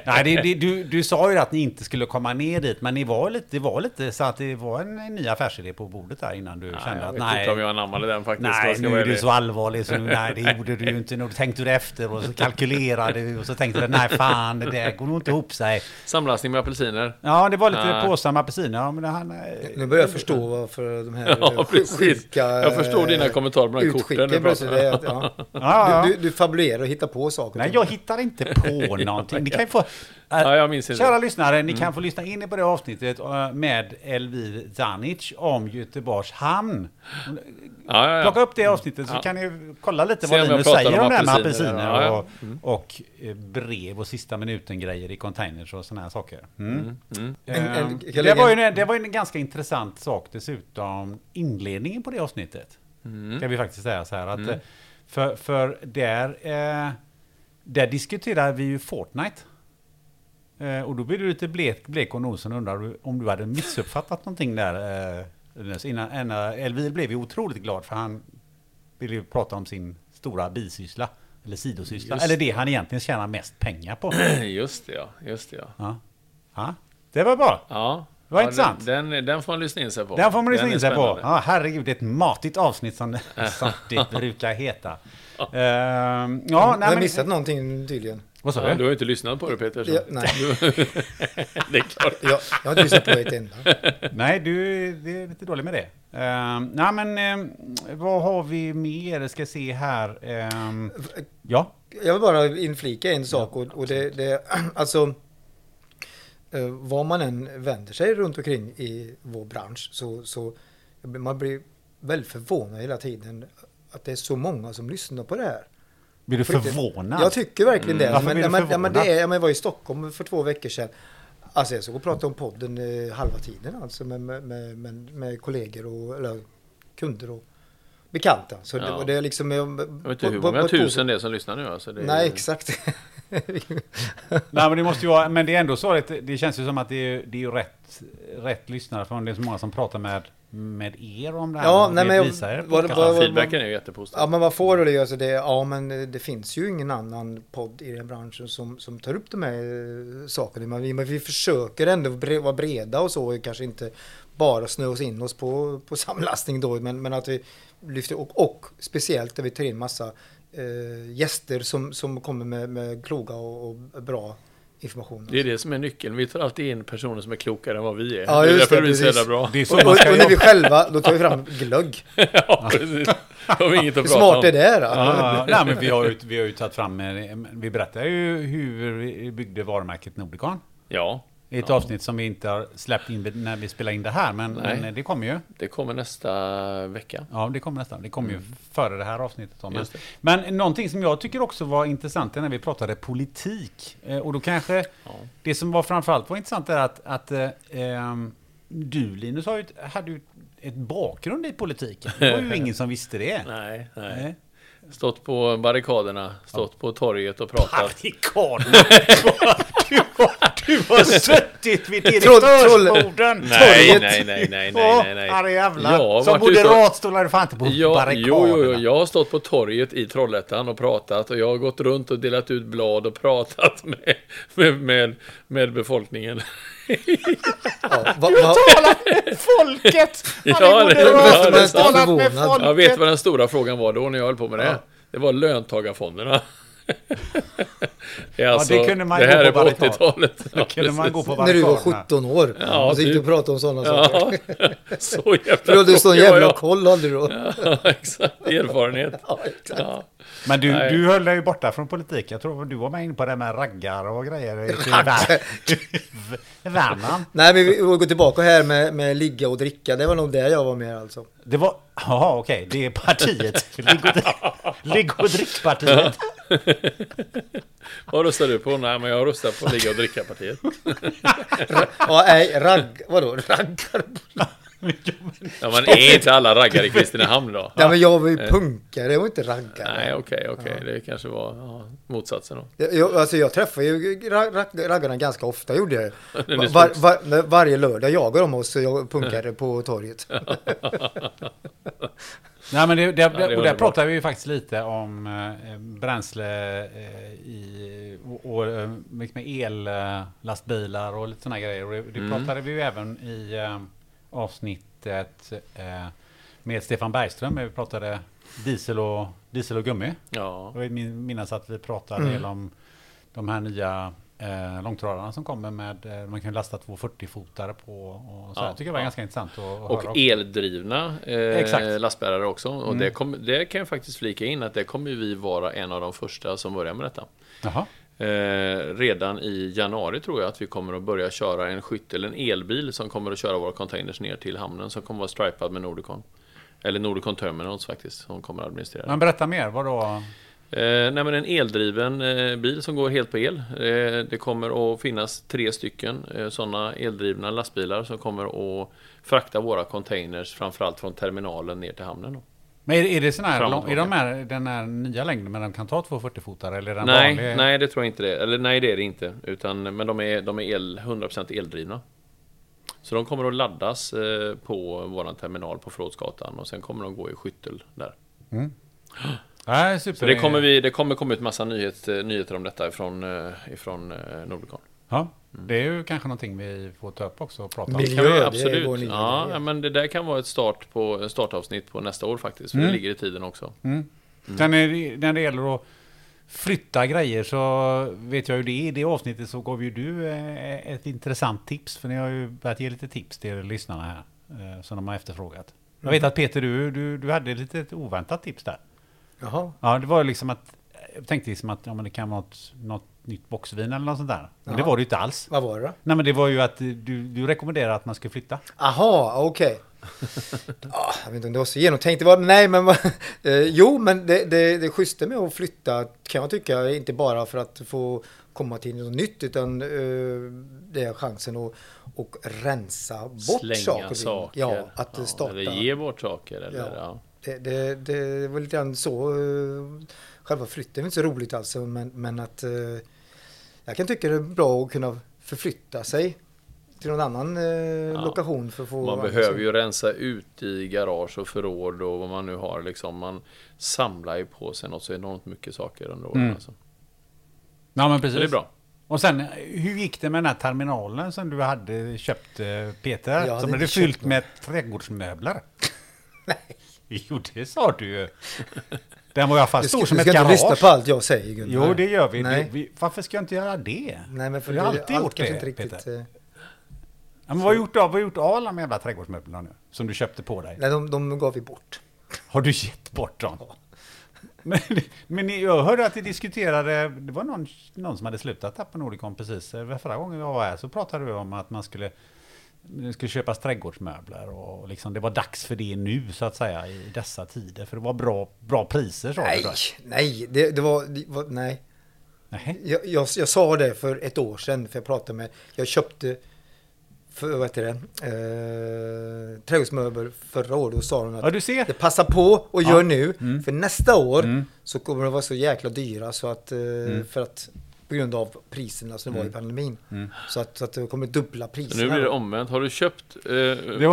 Speaker 1: Nej, det, det, du, du sa ju att ni inte skulle komma ner dit, men ni var lite, det var lite så att det var en, en ny affärsidé på bordet där innan du
Speaker 2: Nej,
Speaker 1: kände
Speaker 2: jag
Speaker 1: att
Speaker 2: vet
Speaker 1: nej.
Speaker 2: inte om jag anammade den faktiskt. om jag
Speaker 1: Nej,
Speaker 2: ska
Speaker 1: nu
Speaker 2: vara
Speaker 1: är du
Speaker 2: ärlig.
Speaker 1: så allvarlig så nu, nej det gjorde du ju inte. Nu tänkte du efter och så kalkylerade du och så tänkte du nej fan det där går nog inte ihop sig.
Speaker 2: Samlastning med apelsiner.
Speaker 1: Ja det var lite
Speaker 2: Nej.
Speaker 1: påsar med apelsiner. Ja, men han, eh,
Speaker 3: Nu börjar jag förstå varför de här
Speaker 2: Ja,
Speaker 3: sj-
Speaker 2: precis. Jag förstår dina
Speaker 3: eh,
Speaker 2: kommentarer med de här korten
Speaker 3: utskicken
Speaker 2: du pratar
Speaker 3: plötsligt,
Speaker 2: om.
Speaker 3: det är att, ja.
Speaker 1: ja.
Speaker 3: Du, du, du fabulerar och hittar på saker.
Speaker 1: Nej, jag hittar inte på någonting. Ni kan ju få...
Speaker 2: Ja, jag minns Mm. inte.
Speaker 1: Kära lyssnare, ni kan få lyssna in på det avsnittet eh, med Elvir Zanic om Göteborgs hamn.
Speaker 2: Ja, ja, ja.
Speaker 1: Plocka upp det avsnittet så
Speaker 2: Ja.
Speaker 1: kan ni kolla lite
Speaker 2: Se
Speaker 1: vad
Speaker 2: om jag
Speaker 1: Linus
Speaker 2: pratar
Speaker 1: säger
Speaker 2: om
Speaker 1: om det här med
Speaker 2: apelsiner.
Speaker 1: apelsiner
Speaker 2: Ja, Mm. ja.
Speaker 1: och, och eh, brev och sista minuten-grejer i containers och sådana här saker. Mm.
Speaker 3: En- en-
Speaker 1: Ehm,
Speaker 3: jag kan
Speaker 1: det,
Speaker 3: lägga
Speaker 1: var ju
Speaker 3: in-
Speaker 1: en, det var ju en ganska intressant sak dessutom, inledningen på det avsnittet. Kan vi faktiskt säga så här att eh, för, för där, eh, där diskuterar vi ju Fortnite. Eh, och då blir du lite blek, blek och nosen och undrar du om du hade missuppfattat någonting där, eh, Innan, innan, Elvir blev ju otroligt glad för han ville ju prata om sin stora bisyssla. Eller sidosyssla.
Speaker 2: Just.
Speaker 1: Eller det han egentligen tjänar mest pengar på.
Speaker 2: Just det ja, just det ja.
Speaker 1: ja. ja. Det var bra.
Speaker 2: Ja.
Speaker 1: Det var
Speaker 2: ja,
Speaker 1: intressant.
Speaker 2: Den, den, den får man lyssna in sig på.
Speaker 1: Den får man lyssna
Speaker 2: är
Speaker 1: in sig på.
Speaker 2: spännande.
Speaker 1: Ja, herregud, det är ett matigt avsnitt som, som det brukar heta. Ehm, ja,
Speaker 3: Mm, jag har
Speaker 1: nej, men,
Speaker 3: missat någonting tydligen.
Speaker 1: vad sa
Speaker 2: Ja, du
Speaker 1: du?
Speaker 2: har ju inte lyssnat på det Peter. så-
Speaker 3: Ja, nej.
Speaker 2: Du- det är klart.
Speaker 3: Jag, jag har inte lyssnat på ett enda.
Speaker 1: Nej, du det är lite dålig med det. Ehm, nej, men ehm, vad har vi mer? Ska se här. Ehm, ja,
Speaker 3: Jag vill bara inflika en sak och, och det, det alltså eh, vad man än vänder sig runt omkring i vår bransch så, så man blir väldigt förvånad hela tiden att det är så många som lyssnar på det här.
Speaker 1: blir du
Speaker 3: På riktigt.
Speaker 1: förvånad? Mm.
Speaker 3: Jag tycker verkligen det.
Speaker 1: Varför
Speaker 3: Men,
Speaker 1: blir du
Speaker 3: ja, men, ja, men det
Speaker 1: förvånad?
Speaker 3: är, ja, men jag var i Stockholm för två veckor sedan. Alltså jag såg och pratade om podden eh, halva tiden alltså med, med, med, med, med kollegor och eller, kunder och bekanta. Så det,
Speaker 2: Ja.
Speaker 3: och det är liksom... Jag
Speaker 2: Jag vet inte hur många tusen det är som lyssnar nu alltså. Det är,
Speaker 3: Nej, exakt.
Speaker 1: Nej, men det måste ju vara, men det är ändå så att det, det känns ju som att det är, det är ju rätt, rätt lyssnare, för det är så många som pratar med, med er om det här.
Speaker 3: Ja,
Speaker 1: och
Speaker 3: nej,
Speaker 1: vi
Speaker 3: men jag-
Speaker 1: visar er
Speaker 3: var det-
Speaker 1: podcast.
Speaker 3: var-
Speaker 2: Ja, feedbacken är ju jättepositiv.
Speaker 3: ja, men vad får du det? Alltså det? Ja, men det finns ju ingen annan podd i den här branschen som, som tar upp de här eh, sakerna. Men vi, men vi försöker ändå bre- vara breda och så, och kanske inte bara snöa oss in oss på, på samlastning då, men, men att vi lyfter och, och speciellt där vi tar in massa eh, gäster som, som kommer med, med kloka och, och bra information.
Speaker 2: Det är det som är nyckeln. Vi tar alltid in personer som är klokare än vad vi är.
Speaker 3: Ja,
Speaker 2: det är
Speaker 3: just
Speaker 2: därför
Speaker 3: det,
Speaker 2: det blir så
Speaker 3: precis.
Speaker 2: jävla bra.
Speaker 1: Det är så
Speaker 3: Och, och,
Speaker 1: man
Speaker 3: och
Speaker 1: ska
Speaker 3: när vi
Speaker 1: jobba.
Speaker 3: själva, då tar vi fram glögg.
Speaker 2: ja, precis. Då har vi inget att
Speaker 3: Hur
Speaker 2: prata om.
Speaker 3: smart är det då?
Speaker 1: Ja, nej, men vi har ju, vi har ju tagit fram, eh, vi berättar ju hur vi byggde varumärket Nordicon.
Speaker 2: Ja,
Speaker 1: Det är ett avsnitt som vi inte har släppt in när vi spelar in det här, men,
Speaker 2: Nej.
Speaker 1: men eh, det kommer ju.
Speaker 2: det kommer nästa vecka.
Speaker 1: Ja, det kommer nästan. Det kommer ju före det här avsnittet. då, Men,
Speaker 2: Mm. Just det.
Speaker 1: men någonting som jag tycker också var intressant är när vi pratade politik. Eh, Och då kanske
Speaker 2: Ja.
Speaker 1: det som var framförallt var intressant är att, att eh, ehm, du Linus har ju ett, hade ju ett bakgrund i politiken. Det var ju ingen som visste det. Eh,
Speaker 2: Nej, nej.
Speaker 1: Nej.
Speaker 2: Stått på barrikaderna, stått på torget och pratat.
Speaker 1: Barrikaderna! Du har- Du har suttit vid direktörsborden!
Speaker 2: Nej, nej, nej, nej, nej,
Speaker 1: Ja,
Speaker 2: nej, nej.
Speaker 1: det
Speaker 2: Jag har
Speaker 1: jävlar. Som
Speaker 2: varit ute och-
Speaker 1: moderat står du fan inte på
Speaker 2: Ja,
Speaker 1: barrikaderna.
Speaker 2: jo, jo, jo, jag har stått på torget i Trollhättan och pratat och jag har gått runt och delat ut blad och pratat med, med, med, med befolkningen.
Speaker 3: Ja, va,
Speaker 1: Du
Speaker 3: va,
Speaker 1: har talat med folket! Han
Speaker 2: Ja,
Speaker 1: är
Speaker 2: det-
Speaker 1: moderat
Speaker 2: ja,
Speaker 1: och
Speaker 2: det är
Speaker 1: talat med
Speaker 3: förvånad.
Speaker 1: folket!
Speaker 2: Jag vet vad den stora frågan var då när jag höll på med det. Det var löntagarfonderna. Det, är alltså,
Speaker 1: det kunde man
Speaker 2: det
Speaker 1: ju
Speaker 2: här
Speaker 1: gå på
Speaker 2: är på
Speaker 1: barrikad.
Speaker 2: 80-talet. Ja,
Speaker 1: Kunde man
Speaker 2: precis.
Speaker 1: gå på
Speaker 3: när du var
Speaker 1: barrikaderna?
Speaker 3: 17 år.
Speaker 2: Ja,
Speaker 3: och så gick du
Speaker 2: typ.
Speaker 3: och pratade om sådana saker.
Speaker 2: Ja, så jävla
Speaker 3: För du hade sån
Speaker 2: tråkig var
Speaker 3: jävla
Speaker 2: jag.
Speaker 3: koll hade du då.
Speaker 2: Ja, exakt. Erfarenhet.
Speaker 3: Ja, exakt.
Speaker 2: Ja.
Speaker 1: Men du,
Speaker 2: Nej.
Speaker 1: du höll dig ju borta från politik. Jag tror du var med in på det med raggar och grejer i Vär- Värmland.
Speaker 3: Nej, men vi vi går tillbaka här med, med ligga och dricka. Det var nog där jag var med alltså.
Speaker 1: Det var... Jaha, okej. Det är partiet. Ligg och, ligg och drickpartiet.
Speaker 2: Vad röstar du på? Nej, men jag röstar på ligga och dricka-partiet.
Speaker 3: Ja, nej, ragg... Vadå? Raggar?
Speaker 2: Ja, men är inte alla raggare i Kristinehamn då?
Speaker 3: Nej, men jag var ju punkare, jag var inte raggare.
Speaker 2: Eh. Nej, okej, okej. Det kanske var ja, motsatsen då.
Speaker 3: Jag, jag, alltså jag träffade ju ra- ra- raggarna ganska ofta, gjorde jag ju.
Speaker 2: När ni
Speaker 3: var, var,
Speaker 2: slogs.
Speaker 3: när- Varje lördag jagade de oss, jag punkare på torget.
Speaker 1: Nej, men det, det,
Speaker 2: det är
Speaker 1: och där
Speaker 2: underbart.
Speaker 1: pratar vi ju faktiskt lite om eh, bränsle eh, i, och, och eh, mycket med ellastbilar och lite sådana grejer. Och det,
Speaker 2: Mm.
Speaker 1: det pratade vi ju även i eh, avsnittet eh, med Stefan Bergström. när Vi pratade diesel och, diesel och gummi.
Speaker 2: Ja,
Speaker 1: Jag min- minns att vi pratade en del
Speaker 2: Mm.
Speaker 1: om de här nya eh, långtradarna som kommer med, eh, man kan ju lasta två 40-fotare på och så.
Speaker 2: Ja,
Speaker 1: jag tycker det var
Speaker 2: ja.
Speaker 1: ganska intressant att, att höra.
Speaker 2: och e- eldrivna eh,
Speaker 1: Exakt.
Speaker 2: lastbärare också. Och det, kom, det kan jag faktiskt flika in att det kommer vi vara en av de första som börjar med detta.
Speaker 1: Jaha.
Speaker 2: Eh, redan i januari tror jag att vi kommer att börja köra en skytt eller en elbil som kommer att köra våra containers ner till hamnen som kommer att vara stripad med Nordicon. Eller Nordicon Terminals faktiskt, som kommer att administrera. det.
Speaker 1: Men berätta mer, vadå?
Speaker 2: Eh, nej, men en eldriven eh, bil som går helt på el. Eh, det kommer att finnas tre stycken eh, sådana eldrivna lastbilar som kommer att frakta våra containers framförallt från terminalen ner till hamnen. Då.
Speaker 1: Men är, är det sån här,
Speaker 2: Fram och
Speaker 1: lång, är de
Speaker 2: tillbaka.
Speaker 1: här, den här nya längden men de kan ta två 40-fotare eller är den
Speaker 2: Nej,
Speaker 1: vanlig?
Speaker 2: nej, det tror jag inte det. Eller nej, det är det inte. Utan, men de är, de är el, 100% eldrivna. Så de kommer att laddas eh, på vår terminal på Förrådsgatan och sen kommer de gå i skyttel där.
Speaker 4: Nej, super.
Speaker 2: Så det kommer, vi, det kommer komma ut massa nyhet, eh, nyheter om detta ifrån, eh, ifrån eh, Nordicon.
Speaker 1: Ja, det är ju kanske någonting vi får ta upp också och prata om.
Speaker 3: Miljö,
Speaker 2: Kan vi,
Speaker 3: det är
Speaker 2: absolut.
Speaker 3: vår nya
Speaker 2: ja,
Speaker 3: idé.
Speaker 2: ja, men det där kan vara ett start på, ett startavsnitt på nästa år faktiskt.
Speaker 3: Mm.
Speaker 2: För det ligger i tiden också.
Speaker 1: Sen är det, när det gäller att flytta grejer så vet jag ju det. I det avsnittet så gav ju du eh, ett intressant tips. För ni har ju börjat ge lite tips till lyssnarna här. eh, Som de har efterfrågat. Jag vet att Peter, du, du, du hade lite ett oväntat tips där.
Speaker 3: Jaha.
Speaker 1: Ja, det var ju liksom att... Jag tänkte liksom att ja, men det kan vara något, något nytt boxvin eller något sånt där. Men det
Speaker 3: Ja.
Speaker 1: var det ju inte alls.
Speaker 3: Vad var det då?
Speaker 1: Nej, men det var ju att eh, du, du rekommenderade att man skulle flytta.
Speaker 3: Aha, okej. Ah, jag vet inte om det var så genomtänkt. Det var, nej, men vad- eh, jo, men det, det, det schyssta med att flytta kan jag tycka, inte bara för att få komma till något nytt, utan eh, det är chansen att och rensa bort
Speaker 2: Slänga
Speaker 3: saker.
Speaker 2: saker.
Speaker 3: och ting. Ja, att
Speaker 2: Ja,
Speaker 3: starta.
Speaker 2: Eller ge bort saker. Eller,
Speaker 3: Ja.
Speaker 2: ja.
Speaker 3: Det, det, det var lite grann så. eh, Själva flytten är inte så roligt alltså, men, men att eh, jag kan tycka det är bra att kunna förflytta sig till någon annan eh, lokation för att få...
Speaker 2: Man behöver ju rensa ut i garage och förråd och vad man nu har. Liksom. Man samlar ju på sig något så enormt mycket saker under
Speaker 3: Mm.
Speaker 2: åren. Alltså.
Speaker 1: Ja, men
Speaker 2: Så
Speaker 1: precis.
Speaker 2: det är bra.
Speaker 1: Och sen, hur gick det med den här terminalen som du hade köpt eh, Peter?
Speaker 3: Jag hade
Speaker 1: som
Speaker 3: inte
Speaker 1: hade
Speaker 3: köpt
Speaker 1: fyllt med trädgårdsmöbler? Nej. Jo, det sa du ju. Den var i alla fall
Speaker 3: Du
Speaker 1: stor
Speaker 3: ska,
Speaker 1: som
Speaker 3: du
Speaker 1: ett
Speaker 3: ska inte lyssna
Speaker 1: garage.
Speaker 3: på allt jag säger Gunnar.
Speaker 1: Jo, det gör vi.
Speaker 3: Nej,
Speaker 1: Det, vi. Varför ska jag inte göra det?
Speaker 3: Nej men för
Speaker 1: vi har
Speaker 3: det-
Speaker 1: alltid
Speaker 3: allt
Speaker 1: gjort det,
Speaker 3: kanske inte riktigt,
Speaker 1: Peter.
Speaker 3: eh,
Speaker 1: Ja, men vad har gjort av, vad har gjort av alla de jävla trädgårdsmöblerna nu? Som du köpte på dig?
Speaker 3: Nej, de, de gav vi bort.
Speaker 1: Har du gett bort dem? Men, men ni- jag hörde att ni diskuterade, det var någon, någon som hade slutat här på Nordicon precis, eh, förra gången jag var här så pratade du om att man skulle, det skulle köpas trädgårdsmöbler och liksom, det var dags för det nu så att säga i dessa tider för det var bra, bra priser sa du
Speaker 3: Nej,
Speaker 1: då.
Speaker 3: nej, det, det, var, det var... Nej.
Speaker 1: Nej.
Speaker 3: Jag, jag, jag sa det för ett år sedan, för jag pratade med... Jag köpte, för, vad heter det, eh, trädgårdsmöbler förra året och sa de
Speaker 1: Ja
Speaker 3: att
Speaker 1: du ser,
Speaker 3: det passa på och gör nu,
Speaker 2: Mm.
Speaker 3: för nästa år så kommer de vara så jäkla dyra så att, eh,
Speaker 2: Mm.
Speaker 3: för att på grund av priserna som det var i pandemin. Så, att, så att det kommer dubbla
Speaker 2: Mm. Så
Speaker 3: priserna.
Speaker 2: nu blir det omvänt. Har du köpt eh,
Speaker 1: var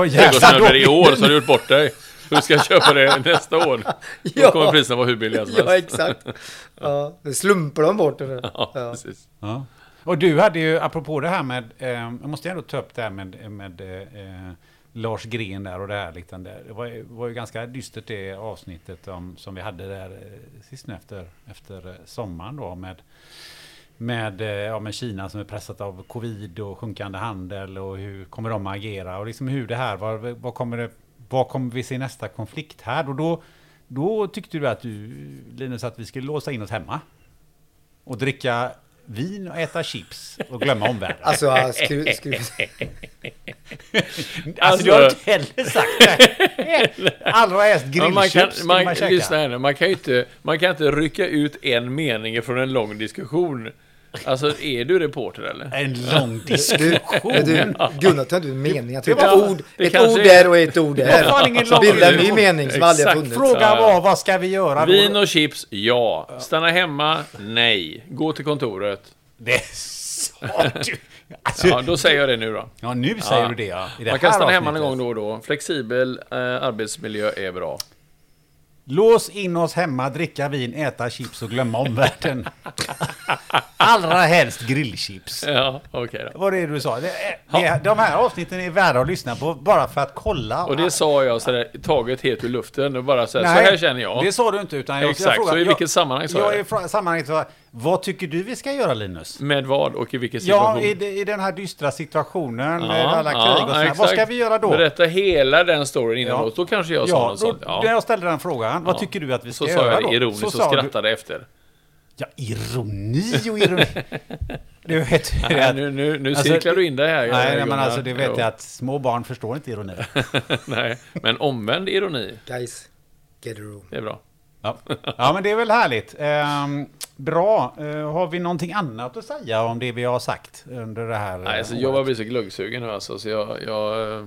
Speaker 1: jävla
Speaker 2: trädgårdsmöbler i
Speaker 1: dåligt.
Speaker 2: år så har du gjort bort dig. Du ska köpa det nästa år. Då
Speaker 3: Ja.
Speaker 2: kommer priserna vara hur billiga som
Speaker 3: Ja,
Speaker 2: helst.
Speaker 3: exakt. Ja, det slumpar de bort. Det. där.
Speaker 2: Ja,
Speaker 3: Ja.
Speaker 2: precis.
Speaker 1: Ja. Och du hade ju, apropå det här med, eh, jag måste ändå ta upp det här med, med eh, eh, Lars Gren där och det här. Liksom där. Det var, ju- var ju ganska dystert det avsnittet om, som vi hade där eh, sist nu efter, efter eh, sommaren då med, med, eh, ja, med Kina som är pressat av covid och sjunkande handel och hur kommer de att agera och liksom hur det här, vad, vad kommer det, vad kommer vi se i nästa konflikt här? Och då, då tyckte du att du, Linus, att vi skulle låsa in oss hemma och dricka vin och äta chips och glömma omvärlden. Alltså,
Speaker 3: Alltså, ja, skru, skru,
Speaker 1: Alltså, du har inte heller sagt det. Allra helst
Speaker 2: alltså- Ja, man,
Speaker 1: grillchips
Speaker 2: kan,
Speaker 1: skulle
Speaker 2: man,
Speaker 1: man, käka.
Speaker 2: lyssna här nu, man kan ju inte, man kan inte rycka ut en mening från en lång diskussion. Alltså, är du reporter eller?
Speaker 1: En lång
Speaker 3: Du,
Speaker 1: diskussion.
Speaker 3: men du, Gunnar tar inte meningen. Det
Speaker 2: var-
Speaker 3: ett ord,
Speaker 2: det
Speaker 3: ett
Speaker 2: kanske
Speaker 3: ord
Speaker 2: är-
Speaker 3: där och ett ord där.
Speaker 1: var fan ingen
Speaker 3: Så
Speaker 1: lång
Speaker 3: bildar en ny
Speaker 1: diskussion.
Speaker 3: mening som aldrig har
Speaker 2: Exakt.
Speaker 3: funnits.
Speaker 1: Frågan var, vad ska vi göra? då?
Speaker 2: Vin och chips, ja. Stanna hemma, nej. Gå till kontoret.
Speaker 1: Det sa du. Alltså,
Speaker 2: Ja,
Speaker 1: ja,
Speaker 2: då säger jag det nu då.
Speaker 1: nu säger
Speaker 2: Ja.
Speaker 1: du det. Ja, i det
Speaker 2: Man kan
Speaker 1: här
Speaker 2: stanna hemma någon
Speaker 1: avsnittet.
Speaker 2: gång då och då. Flexibel eh, arbetsmiljö är bra.
Speaker 1: Lås in oss hemma, dricka vin, äta chips och glömma omvärlden. Allra helst grillchips.
Speaker 2: Ja, okej då.
Speaker 1: Vad det är du sa. Det, det, de här avsnitten är värda att lyssna på bara för att kolla.
Speaker 2: Och det sa jag sådär, taget helt ur luften och bara såhär, så
Speaker 1: Nej,
Speaker 2: här känner jag.
Speaker 1: Det sa du inte. Utan jag,
Speaker 2: Exakt,
Speaker 1: jag frågade-
Speaker 2: så i vilket sammanhang sa
Speaker 1: jag,
Speaker 2: jag
Speaker 1: jag
Speaker 2: det?
Speaker 1: i fra- sammanhanget sa, vad tycker du vi ska göra Linus?
Speaker 2: Med vad och i vilken
Speaker 1: Ja,
Speaker 2: situation?
Speaker 1: i, de- i den här dystra situationen med alla krig och sådär. Vad
Speaker 2: exakt.
Speaker 1: ska vi göra då?
Speaker 2: Berätta hela den storyn innan
Speaker 1: Ja.
Speaker 2: oss. Då kanske jag sa
Speaker 1: Ja,
Speaker 2: något
Speaker 1: då,
Speaker 2: sånt. Ja.
Speaker 1: När jag ställde den frågan, vad
Speaker 2: Ja.
Speaker 1: tycker du att vi ska
Speaker 2: Så sa
Speaker 1: göra
Speaker 2: jag
Speaker 1: då?
Speaker 2: det ironiskt och
Speaker 1: sa du-
Speaker 2: skrattade efter.
Speaker 1: Ja, ironi och ironi. du vet ju
Speaker 2: Nej,
Speaker 1: att-
Speaker 2: nu nu, nu
Speaker 1: alltså,
Speaker 2: cirklar du in det här.
Speaker 1: Nej, nej, men
Speaker 2: Gunnar.
Speaker 1: alltså det vet
Speaker 2: Jo.
Speaker 1: jag att små barn förstår inte ironi.
Speaker 2: nej, men omvänd ironi,
Speaker 3: Guys, get a room.
Speaker 2: det är bra.
Speaker 1: Ja. ja, men det är väl härligt. Ehm, bra. Eh, har vi någonting annat att säga om det vi har sagt under det här?
Speaker 2: Nej, alltså,
Speaker 1: året?
Speaker 2: jag var blir så glöggsugen nu alltså, så jag, jag eh,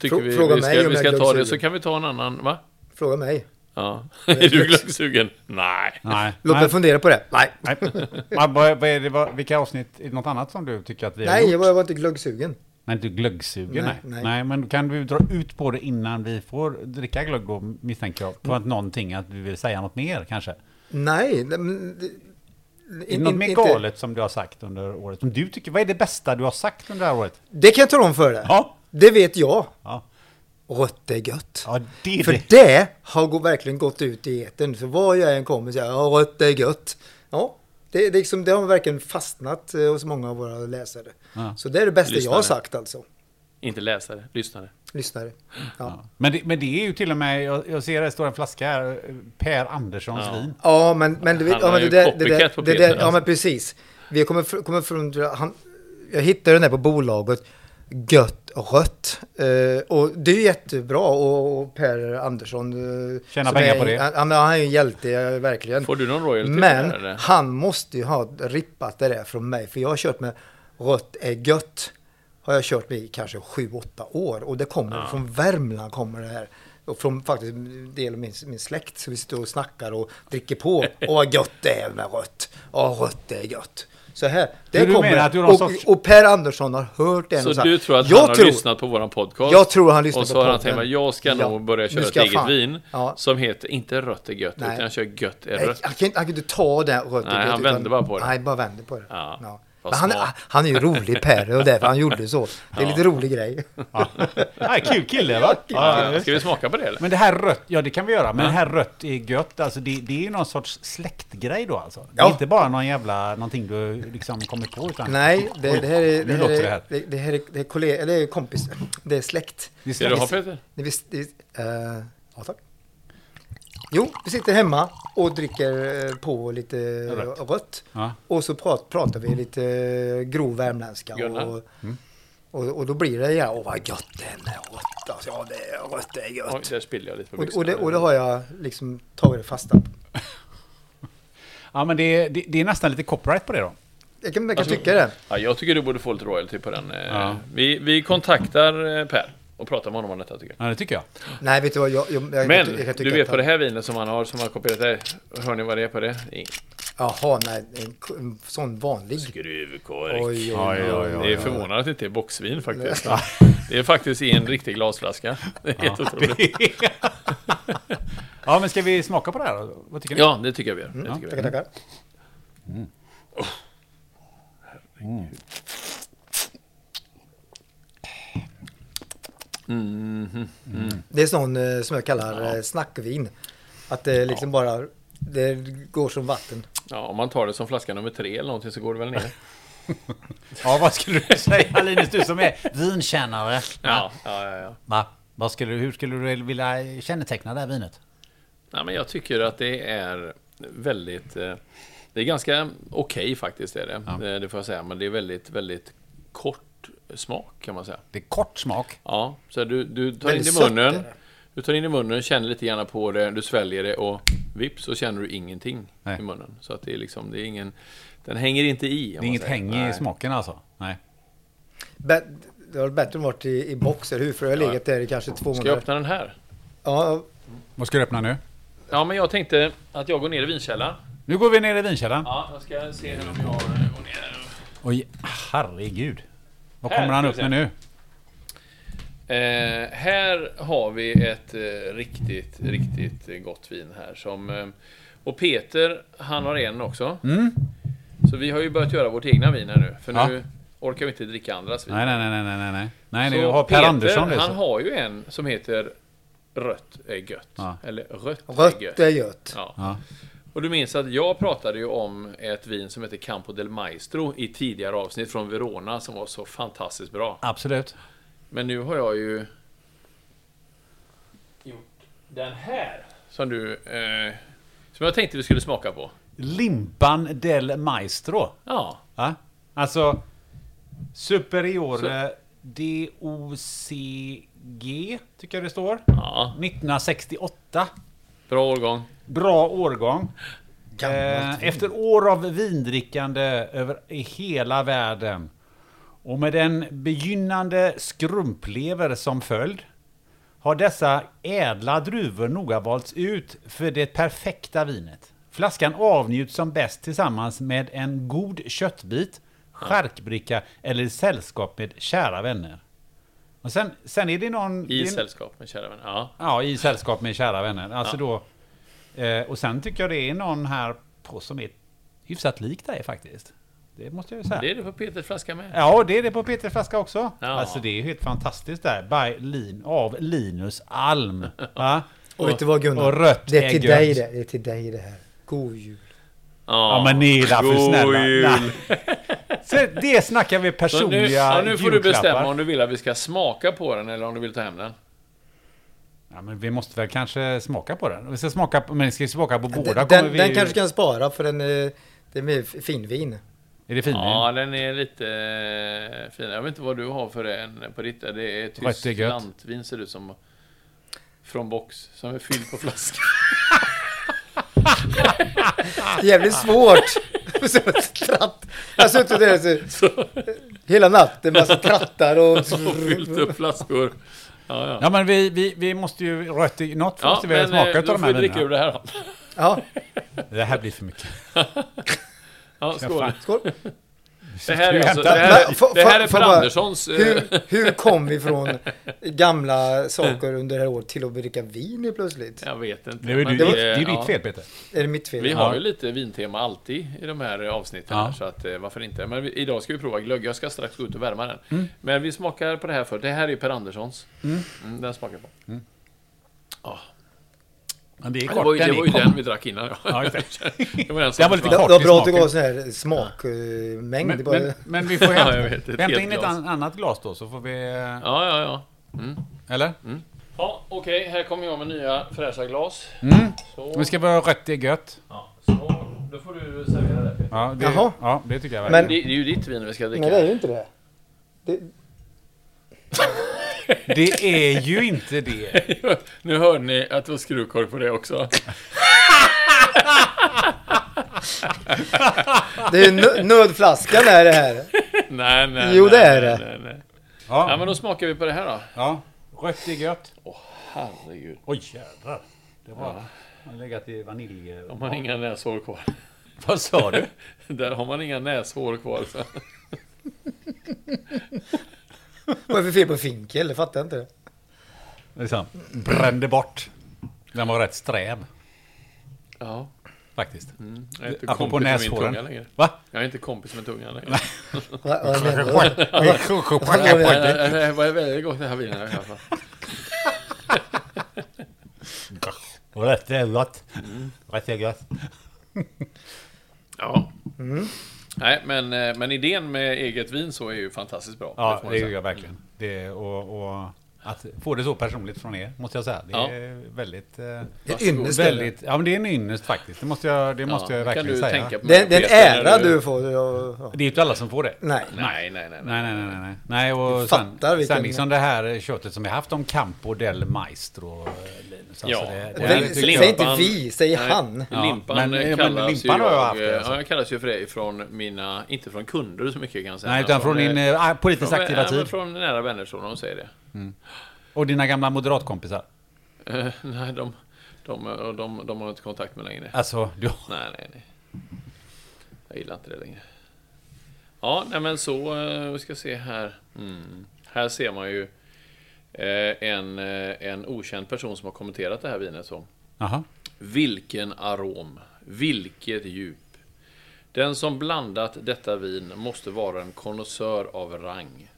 Speaker 2: tycker
Speaker 3: Frå-
Speaker 2: vi,
Speaker 3: fråga
Speaker 2: vi ska,
Speaker 3: mig om
Speaker 2: vi
Speaker 3: jag är
Speaker 2: ska ta det,
Speaker 3: glöggsugen.
Speaker 2: så kan vi ta en annan, va?
Speaker 3: Fråga mig.
Speaker 2: Ja.
Speaker 3: är
Speaker 2: Är du
Speaker 3: glöggs-
Speaker 2: glöggsugen? Nej.
Speaker 1: Nej.
Speaker 3: Låt
Speaker 1: nej.
Speaker 3: mig fundera på det. Nej,
Speaker 1: nej. Vad- vad- vad är det, vad, vilka avsnitt, är det något annat som du tycker att vi har
Speaker 3: nej
Speaker 1: gjort?
Speaker 3: jag, var, jag var inte glöggsugen.
Speaker 1: Nej, inte glöggsugen. Nej,
Speaker 3: Nej,
Speaker 1: nej.
Speaker 3: nej.
Speaker 1: men kan du dra ut på det innan vi får dricka glögg då, misstänker jag. På att någonting, att du vill säga något mer kanske.
Speaker 3: Nej, nej, men... det-
Speaker 1: Är det
Speaker 3: in-
Speaker 1: något
Speaker 3: in-
Speaker 1: mer
Speaker 3: inte-
Speaker 1: galet som du har sagt under året? Som du tycker, vad är det bästa du har sagt under det här året?
Speaker 3: Det kan jag tala om för dig.
Speaker 1: Ja.
Speaker 3: Det vet jag.
Speaker 1: Ja,
Speaker 3: Rött är gött.
Speaker 1: ja det är
Speaker 3: För
Speaker 1: det.
Speaker 3: det har gå- verkligen gått ut i etern. För var jag än kommer säger jag ja, rött är gött. Ja, det, det, är liksom, det har verkligen fastnat eh, hos många av våra läsare.
Speaker 1: Ja.
Speaker 3: Så det är det bästa jag har
Speaker 2: Lyssnare.
Speaker 3: sagt alltså.
Speaker 2: Inte läsare, lyssnare.
Speaker 3: Lyssnare. Ja,
Speaker 1: Ja. Men, det, men det är ju till och med, jag, jag ser det står en flaska här, eh, Per Anderssons
Speaker 2: Ja.
Speaker 1: vin.
Speaker 3: ja men, men, det,
Speaker 2: Han
Speaker 3: ja,
Speaker 2: är
Speaker 3: men det,
Speaker 2: ju
Speaker 3: där, det,
Speaker 2: copycat på
Speaker 3: där, det
Speaker 2: Peter,
Speaker 3: där, ja
Speaker 2: alltså.
Speaker 3: men precis. Vi kommer, fr- kommer från, han, jag hittade den där på bolaget, gött och rött. Eh, och det är ju jättebra och, och Per Andersson. eh,
Speaker 1: Tjäna
Speaker 3: som
Speaker 1: pengar
Speaker 3: är,
Speaker 1: på det.
Speaker 3: Han, han är ju en hjälte, eh, verkligen.
Speaker 2: Får du någon royalty?
Speaker 3: Men
Speaker 2: för det här, eller?
Speaker 3: han måste ju ha rippat det där från mig. För jag har kört med rött är gött. Har jag kört med i kanske 7-8 år. Och det kommer från Värmland kommer det här. Och från faktiskt en del av min, min släkt. Så vi sitter och snackar och dricker på. Åh vad gött det är med rött. Ja rött är gött. Så här, det
Speaker 1: Så du
Speaker 3: kommer
Speaker 1: menar att du har någon
Speaker 3: och,
Speaker 1: sorts-
Speaker 3: och Per Andersson har hört det.
Speaker 2: Så
Speaker 3: och sagt,
Speaker 2: du tror att
Speaker 3: "Jag
Speaker 2: han har
Speaker 3: tror-
Speaker 2: lyssnat på våran podcast?
Speaker 3: Jag tror han lyssnar
Speaker 2: Och så
Speaker 3: på
Speaker 2: har han
Speaker 3: podden.
Speaker 2: tänkt mig, jag ska
Speaker 3: Ja,
Speaker 2: nog börja köra
Speaker 3: nu
Speaker 2: ett
Speaker 3: ska jag
Speaker 2: eget
Speaker 3: fan-
Speaker 2: vin.
Speaker 3: Ja.
Speaker 2: Som heter inte rött är gött,
Speaker 3: Nej.
Speaker 2: utan jag kör gött är
Speaker 3: Nej,
Speaker 2: rött.
Speaker 3: Han kan, inte- han kan inte ta det här rött
Speaker 2: Nej, han vänder bara på det.
Speaker 3: Nej, bara vänder på det.
Speaker 2: Ja, vad
Speaker 3: Men han,
Speaker 2: smart.
Speaker 3: han är ju rolig Per och därför han gjorde så. Det är lite rolig grej.
Speaker 1: Ja. Ja, kul kille va? Ja,
Speaker 2: Ja, ska vi smaka på det eller?
Speaker 1: Men det här rött, ja det kan vi göra, men det här rött är gött, alltså det, det är ju någon sorts släktgrej då alltså. Det är
Speaker 3: Ja.
Speaker 1: inte bara någon jävla, någonting du liksom kommit på utan...
Speaker 3: Nej, det, det här är...
Speaker 1: nu
Speaker 3: Det här
Speaker 1: låter det
Speaker 3: är,
Speaker 1: här.
Speaker 3: det, det här är, det är kollega, eller kompis. Det är släkt.
Speaker 1: Det är
Speaker 2: Ska du ha
Speaker 1: släkt.
Speaker 2: Peter?
Speaker 3: Ni visst, det, eh, ja, tack. Jo, vi sitter hemma och dricker eh, på lite
Speaker 1: Rött.
Speaker 3: rött.
Speaker 1: Ja.
Speaker 3: Och så prat, pratar vi lite eh, grov värmländska.
Speaker 2: Gunnar?
Speaker 3: Och, och, och då blir det ja, åh vad gött det är med rött. Alltså, ja, det är, rött det är gött.
Speaker 2: Oj, där spillde jag lite på
Speaker 3: Och,
Speaker 2: byxorna.
Speaker 3: och, det, och det har jag liksom tagit fasta på.
Speaker 1: Ja men det, det, det är nästan lite copyright på det då.
Speaker 3: Jag kan, jag kan
Speaker 2: Alltså-
Speaker 3: tycka det.
Speaker 2: Ja, jag tycker du borde få lite royalty på den. eh.
Speaker 1: Ja.
Speaker 2: Vi, vi kontaktar eh, Per och pratar med honom om detta tycker jag.
Speaker 1: Ja det tycker jag.
Speaker 3: Nej, vet du vad? Jag, jag, jag, jag, kan ty- jag
Speaker 2: Men
Speaker 3: kan tycka
Speaker 2: du vet
Speaker 3: att-
Speaker 2: vad det här vinet som han har, som han har kopierat där. Hör ni vad det är på det? Ingen
Speaker 3: Jaha, nej. En, k- en sån vanlig.
Speaker 2: Skruvkork.
Speaker 3: Oj, oj,
Speaker 1: oj, oj,
Speaker 2: Det är förvånande att det inte är boxvin faktiskt. Det är faktiskt i en riktig glasflaska. Det är helt otroligt.
Speaker 1: ja men ska vi smaka på det här då? Vad tycker ni?
Speaker 2: Ja, det tycker jag vi gör. Det tycker
Speaker 3: Mm. Tackar,
Speaker 2: vi gör.
Speaker 3: tackar. Det är sån eh, som jag kallar eh, snackvin. Att det liksom bara det går som vatten.
Speaker 2: Ja, om man tar det som flaska nummer tre eller någonting så går det väl ner.
Speaker 1: Ja vad skulle du säga Linus, du som är vinkännare?
Speaker 2: Ja, ja, ja. ja.
Speaker 1: Va? Vad skulle, hur skulle du vilja känneteckna det här vinet?
Speaker 2: Nej, men jag tycker att det är väldigt... eh, Det är ganska okej faktiskt, är det. Eh, det får jag säga. Men det är väldigt, väldigt kort smak kan man säga.
Speaker 1: Det är kort smak.
Speaker 2: Ja, så du, du tar in
Speaker 3: Väldigt
Speaker 2: det i
Speaker 3: sött
Speaker 2: munnen.
Speaker 3: är det.
Speaker 2: Du tar in det i munnen, känner lite grann på det, du sväljer det och vips så känner du ingenting
Speaker 1: Nej.
Speaker 2: i munnen. Så att det är liksom, det är ingen... Den hänger inte i. om
Speaker 1: Det är
Speaker 2: man
Speaker 1: inget
Speaker 2: säger.
Speaker 1: häng i
Speaker 2: Nej.
Speaker 1: smaken alltså. Nej.
Speaker 3: Bä- Det har bättre än varit i, i box, eller hur? För det har legat där i kanske två
Speaker 2: Ska jag
Speaker 3: månader.
Speaker 2: öppna den här?
Speaker 3: Ja,
Speaker 1: Vad ska du öppna nu?
Speaker 2: Ja, men jag tänkte att jag går ner i vinkällaren.
Speaker 1: Nu går vi ner i vinkällaren.
Speaker 2: Ja, jag ska se hur om jag eh, går ner.
Speaker 1: Oj, herregud. Vad
Speaker 2: Här
Speaker 1: kommer han
Speaker 2: ska
Speaker 1: upp
Speaker 2: vi
Speaker 1: med nu?
Speaker 2: Eh, här har vi ett eh, riktigt, riktigt eh, gott vin här som... Eh, och Peter, han har en också. Så vi har ju börjat göra vårt egna vin här nu. För
Speaker 1: Mm. Ja.
Speaker 2: nu orkar vi inte dricka andras vin.
Speaker 1: Nej, nej, nej, nej, nej, nej, nej. Nej,
Speaker 2: Så
Speaker 1: nu har Per
Speaker 2: Peter,
Speaker 1: Andersson det.
Speaker 2: han
Speaker 1: så.
Speaker 2: har ju en som heter Rött är gött.
Speaker 1: Ja.
Speaker 2: Eller Rött, är
Speaker 3: rött
Speaker 2: gött. Eh,
Speaker 3: är gött.
Speaker 2: Ja.
Speaker 1: Ja.
Speaker 2: Och du minns att jag pratade ju om ett vin som heter Campo del Maestro i tidigare avsnitt från Verona som var så fantastiskt bra.
Speaker 1: Absolut.
Speaker 2: Men nu har jag ju gjort den här som du... Eh, som jag tänkte vi skulle smaka på.
Speaker 1: Limpan del Maestro.
Speaker 2: Ja,
Speaker 1: Va? Alltså, Superiore DOCG, tycker jag det står.
Speaker 2: ja.
Speaker 1: 1968.
Speaker 2: bra årgång.
Speaker 1: Bra årgång.
Speaker 3: Gammalt
Speaker 1: Eh, efter år av vindrickande över i hela världen och med den begynnande skrumplever som följd har dessa ädla druvor noga valts ut för det perfekta vinet. Flaskan avnjuts som bäst tillsammans med en god köttbit, charkbricka eller i sällskap med kära vänner. Och sen, sen är det någon...
Speaker 2: I
Speaker 1: det är-
Speaker 2: sällskap med kära vänner. Ja.
Speaker 1: Ja, i sällskap med kära vänner. Alltså
Speaker 2: Ja.
Speaker 1: då, eh, och sen tycker jag det är någon här på som är hyfsat lik dig faktiskt. Det måste jag ju säga.
Speaker 2: Det är det på Peters flaska med.
Speaker 1: Ja, det är det på Peter Flaska också.
Speaker 2: Ja.
Speaker 1: Alltså det är helt fantastiskt där. By Lin, av Linus Alm. Va?
Speaker 3: Och vet du vad Gunnar?
Speaker 1: och rött
Speaker 3: det är till
Speaker 1: ägg.
Speaker 3: dig det. Det är till dig det här. God jul.
Speaker 1: Ja, men ni är där för
Speaker 2: God
Speaker 1: snälla.
Speaker 2: jul.
Speaker 1: Nej. Så det snackar vi
Speaker 2: Så nu,
Speaker 1: personliga
Speaker 2: ja, nu får du
Speaker 1: julklappar.
Speaker 2: bestämma om du vill att vi ska smaka på den eller om du vill ta hem den.
Speaker 1: Ja, men vi måste väl kanske smaka på den. Vi ska smaka på, men ska vi smaka på båda?
Speaker 3: Den,
Speaker 1: kommer
Speaker 3: den,
Speaker 1: vi
Speaker 3: den
Speaker 1: ju-
Speaker 3: kanske kan spara för den eh, det är mer f- finvin.
Speaker 1: Är det finvin?
Speaker 2: Ja, den är lite eh, fin. Jag vet inte vad du har för en på ditt. Det är
Speaker 1: Rätt
Speaker 2: tysk
Speaker 1: är gött.
Speaker 2: lantvin ser det ut som. Från box, som är fylld på flaska.
Speaker 3: Jävligt svårt. Som ett tratt. Jag har suttit där så-
Speaker 2: Så,
Speaker 3: hela natten massa trattar och...
Speaker 2: och fyllt upp flaskor. Ja, ja.
Speaker 1: Ja men vi, vi, vi måste ju rötta i något
Speaker 2: Ja,
Speaker 1: måste vi
Speaker 2: men
Speaker 1: smaka
Speaker 2: eh,
Speaker 1: utav
Speaker 2: då
Speaker 1: de
Speaker 2: får
Speaker 1: här
Speaker 2: vi dricka ur
Speaker 1: vinerna.
Speaker 2: det här då.
Speaker 3: Ja,
Speaker 1: Det här blir för mycket.
Speaker 2: Ja, skål.
Speaker 3: skål.
Speaker 2: Det här
Speaker 1: Du
Speaker 2: är, alltså, det
Speaker 1: hämtar-
Speaker 2: här,
Speaker 3: Men, får-
Speaker 2: det här
Speaker 3: får-
Speaker 2: är
Speaker 3: får
Speaker 2: Per
Speaker 3: jag bara-
Speaker 2: Anderssons... eh,
Speaker 3: Hur, hur kom vi från gamla saker under det här året till att dricka vin nu plötsligt?
Speaker 2: Jag vet inte.
Speaker 1: Det är ju
Speaker 2: men
Speaker 1: det
Speaker 2: vi-
Speaker 1: är ju
Speaker 2: ja.
Speaker 1: ditt fel Peter.
Speaker 3: Är det mitt fel?
Speaker 2: Vi har
Speaker 1: Ja.
Speaker 2: ju lite vintema alltid i de här avsnitten.
Speaker 1: Ja.
Speaker 2: Här, så att, eh, varför inte? Men vi, idag ska vi prova glögg. Jag ska strax gå ut och värma den.
Speaker 1: Mm.
Speaker 2: Men vi smakar på det här för Det här är Per Anderssons. Mm, den smakar jag på.
Speaker 1: Men det är
Speaker 2: Det
Speaker 1: kort.
Speaker 2: var ju,
Speaker 1: den
Speaker 2: det
Speaker 1: är
Speaker 2: var ju
Speaker 1: kort.
Speaker 2: den vi drack innan.
Speaker 1: Ja, exakt.
Speaker 2: det var den som
Speaker 1: Den var lite
Speaker 3: det,
Speaker 2: försvann.
Speaker 1: kort
Speaker 3: det var
Speaker 1: i
Speaker 3: bra att det
Speaker 1: smaken.
Speaker 3: gav sån här smakmängd.
Speaker 1: Men,
Speaker 3: bara,
Speaker 1: men, men vi får
Speaker 2: Ja, jag vet,
Speaker 1: hämta,
Speaker 2: ett
Speaker 1: hämta
Speaker 2: helt
Speaker 1: in ett
Speaker 2: glas.
Speaker 1: an, annat glas då så får vi... eh,
Speaker 2: Ja, ja, ja. Mm.
Speaker 1: Eller?
Speaker 2: Ja, Okej, här kommer jag med nya fräscha glas. Så,
Speaker 1: Vi Mm. ska vara rött, det är gött.
Speaker 2: ja, så, då får du servera det. Peter.
Speaker 1: Ja, det,
Speaker 3: Jaha.
Speaker 1: ja, det tycker jag
Speaker 3: Men-
Speaker 2: Det,
Speaker 1: verkligen.
Speaker 2: det är ju ditt vin vi ska dricka.
Speaker 3: Nej, det är ju inte det. det
Speaker 1: det är ju inte det.
Speaker 2: nu hör ni att det var skruvkork på det också.
Speaker 3: det är nö- nödflaskan är det här.
Speaker 2: nej, nej.
Speaker 3: Jo,
Speaker 2: nej,
Speaker 3: det är
Speaker 2: nej,
Speaker 3: det.
Speaker 2: Nej, nej. Ja,
Speaker 1: Ja,
Speaker 2: men då smakar vi på det här då.
Speaker 1: ja. Rött, det är gött.
Speaker 2: Herregud.
Speaker 1: Oj jädrar. Det var... Han har legat i vanilj...
Speaker 2: Om man har inga näshår kvar.
Speaker 1: Vad sa du?
Speaker 2: Där har man inga näshår kvar. Så.
Speaker 3: Vad är det för fel på finkel? Det fattar jag inte.
Speaker 1: Liksom, brände bort. Den var rätt sträv
Speaker 2: Ja.
Speaker 1: faktiskt.
Speaker 2: Jag är inte
Speaker 1: Apropå
Speaker 2: kompis med min tunga
Speaker 1: näshåren.
Speaker 2: längre.
Speaker 1: Va?
Speaker 2: Jag är inte kompis med tungan längre.
Speaker 3: Vad- vad menar du? Vad menar du?
Speaker 2: Nej, Det var väldigt gott det här vinet i alla fall.
Speaker 1: Rätt är gott.
Speaker 2: Mm.
Speaker 1: Rätt är gött.
Speaker 2: Ja.
Speaker 3: Mm.
Speaker 2: Nej, men, eh, men idén med eget vin så är ju fantastiskt bra.
Speaker 1: Ja,
Speaker 2: får man
Speaker 1: det gör
Speaker 2: säga.
Speaker 1: jag verkligen. Det, är- och, och att få det så personligt från er, måste jag säga. Det
Speaker 2: Ja.
Speaker 1: är väldigt... eh,
Speaker 3: Det är ynnest. Väldigt.
Speaker 1: Väldigt, ja men det är en ynnest faktiskt. Det måste jag, det måste jag
Speaker 2: det
Speaker 1: verkligen
Speaker 2: kan du
Speaker 1: säga.
Speaker 2: Tänka på
Speaker 3: Det är det är en
Speaker 2: Peter, när
Speaker 3: ära du får. Ja, ja.
Speaker 1: Det är ju inte alla som får det.
Speaker 3: Nej.
Speaker 2: Nej, nej, nej.
Speaker 1: Nej,
Speaker 2: nej.
Speaker 1: nej, nej, nej, nej. nej och
Speaker 3: Fattar
Speaker 1: sen,
Speaker 3: vilken-
Speaker 1: sen liksom det här köttet som vi haft om Campo del Maestro. eh, Linus, alltså
Speaker 2: Ja.
Speaker 1: det, det
Speaker 2: Och
Speaker 1: här
Speaker 2: den-
Speaker 1: tycker jag-
Speaker 3: Säg inte vi, säg han.
Speaker 1: Ja,
Speaker 2: Limpan
Speaker 1: men-
Speaker 2: eh,
Speaker 1: men
Speaker 2: kallas
Speaker 1: limpan
Speaker 2: ju
Speaker 1: har jag
Speaker 2: jag,
Speaker 1: haft det, alltså.
Speaker 2: ja, jag kallas ju för det från mina, inte från kunder så mycket kan jag säga.
Speaker 1: Nej, utan från din
Speaker 2: eh,
Speaker 1: eh, politiskt
Speaker 2: från-
Speaker 1: aktiva
Speaker 2: ja, men
Speaker 1: tid.
Speaker 2: Från nära vänner så de säger det.
Speaker 1: Och dina gamla moderatkompisar.
Speaker 2: Eh, nej, de, de, de, de, de har jag inte kontakt med längre.
Speaker 1: Alltså, du...
Speaker 2: Nej, nej, nej. Jag gillar inte det längre. Ja, nej men så, eh, vi ska se här. Mm. Här ser man ju eh, en, eh, en okänd person som har kommenterat det här vinet så.
Speaker 1: Jaha.
Speaker 2: Vilken arom! Vilket djup! Den som blandat detta vin måste vara en konnässör av rang.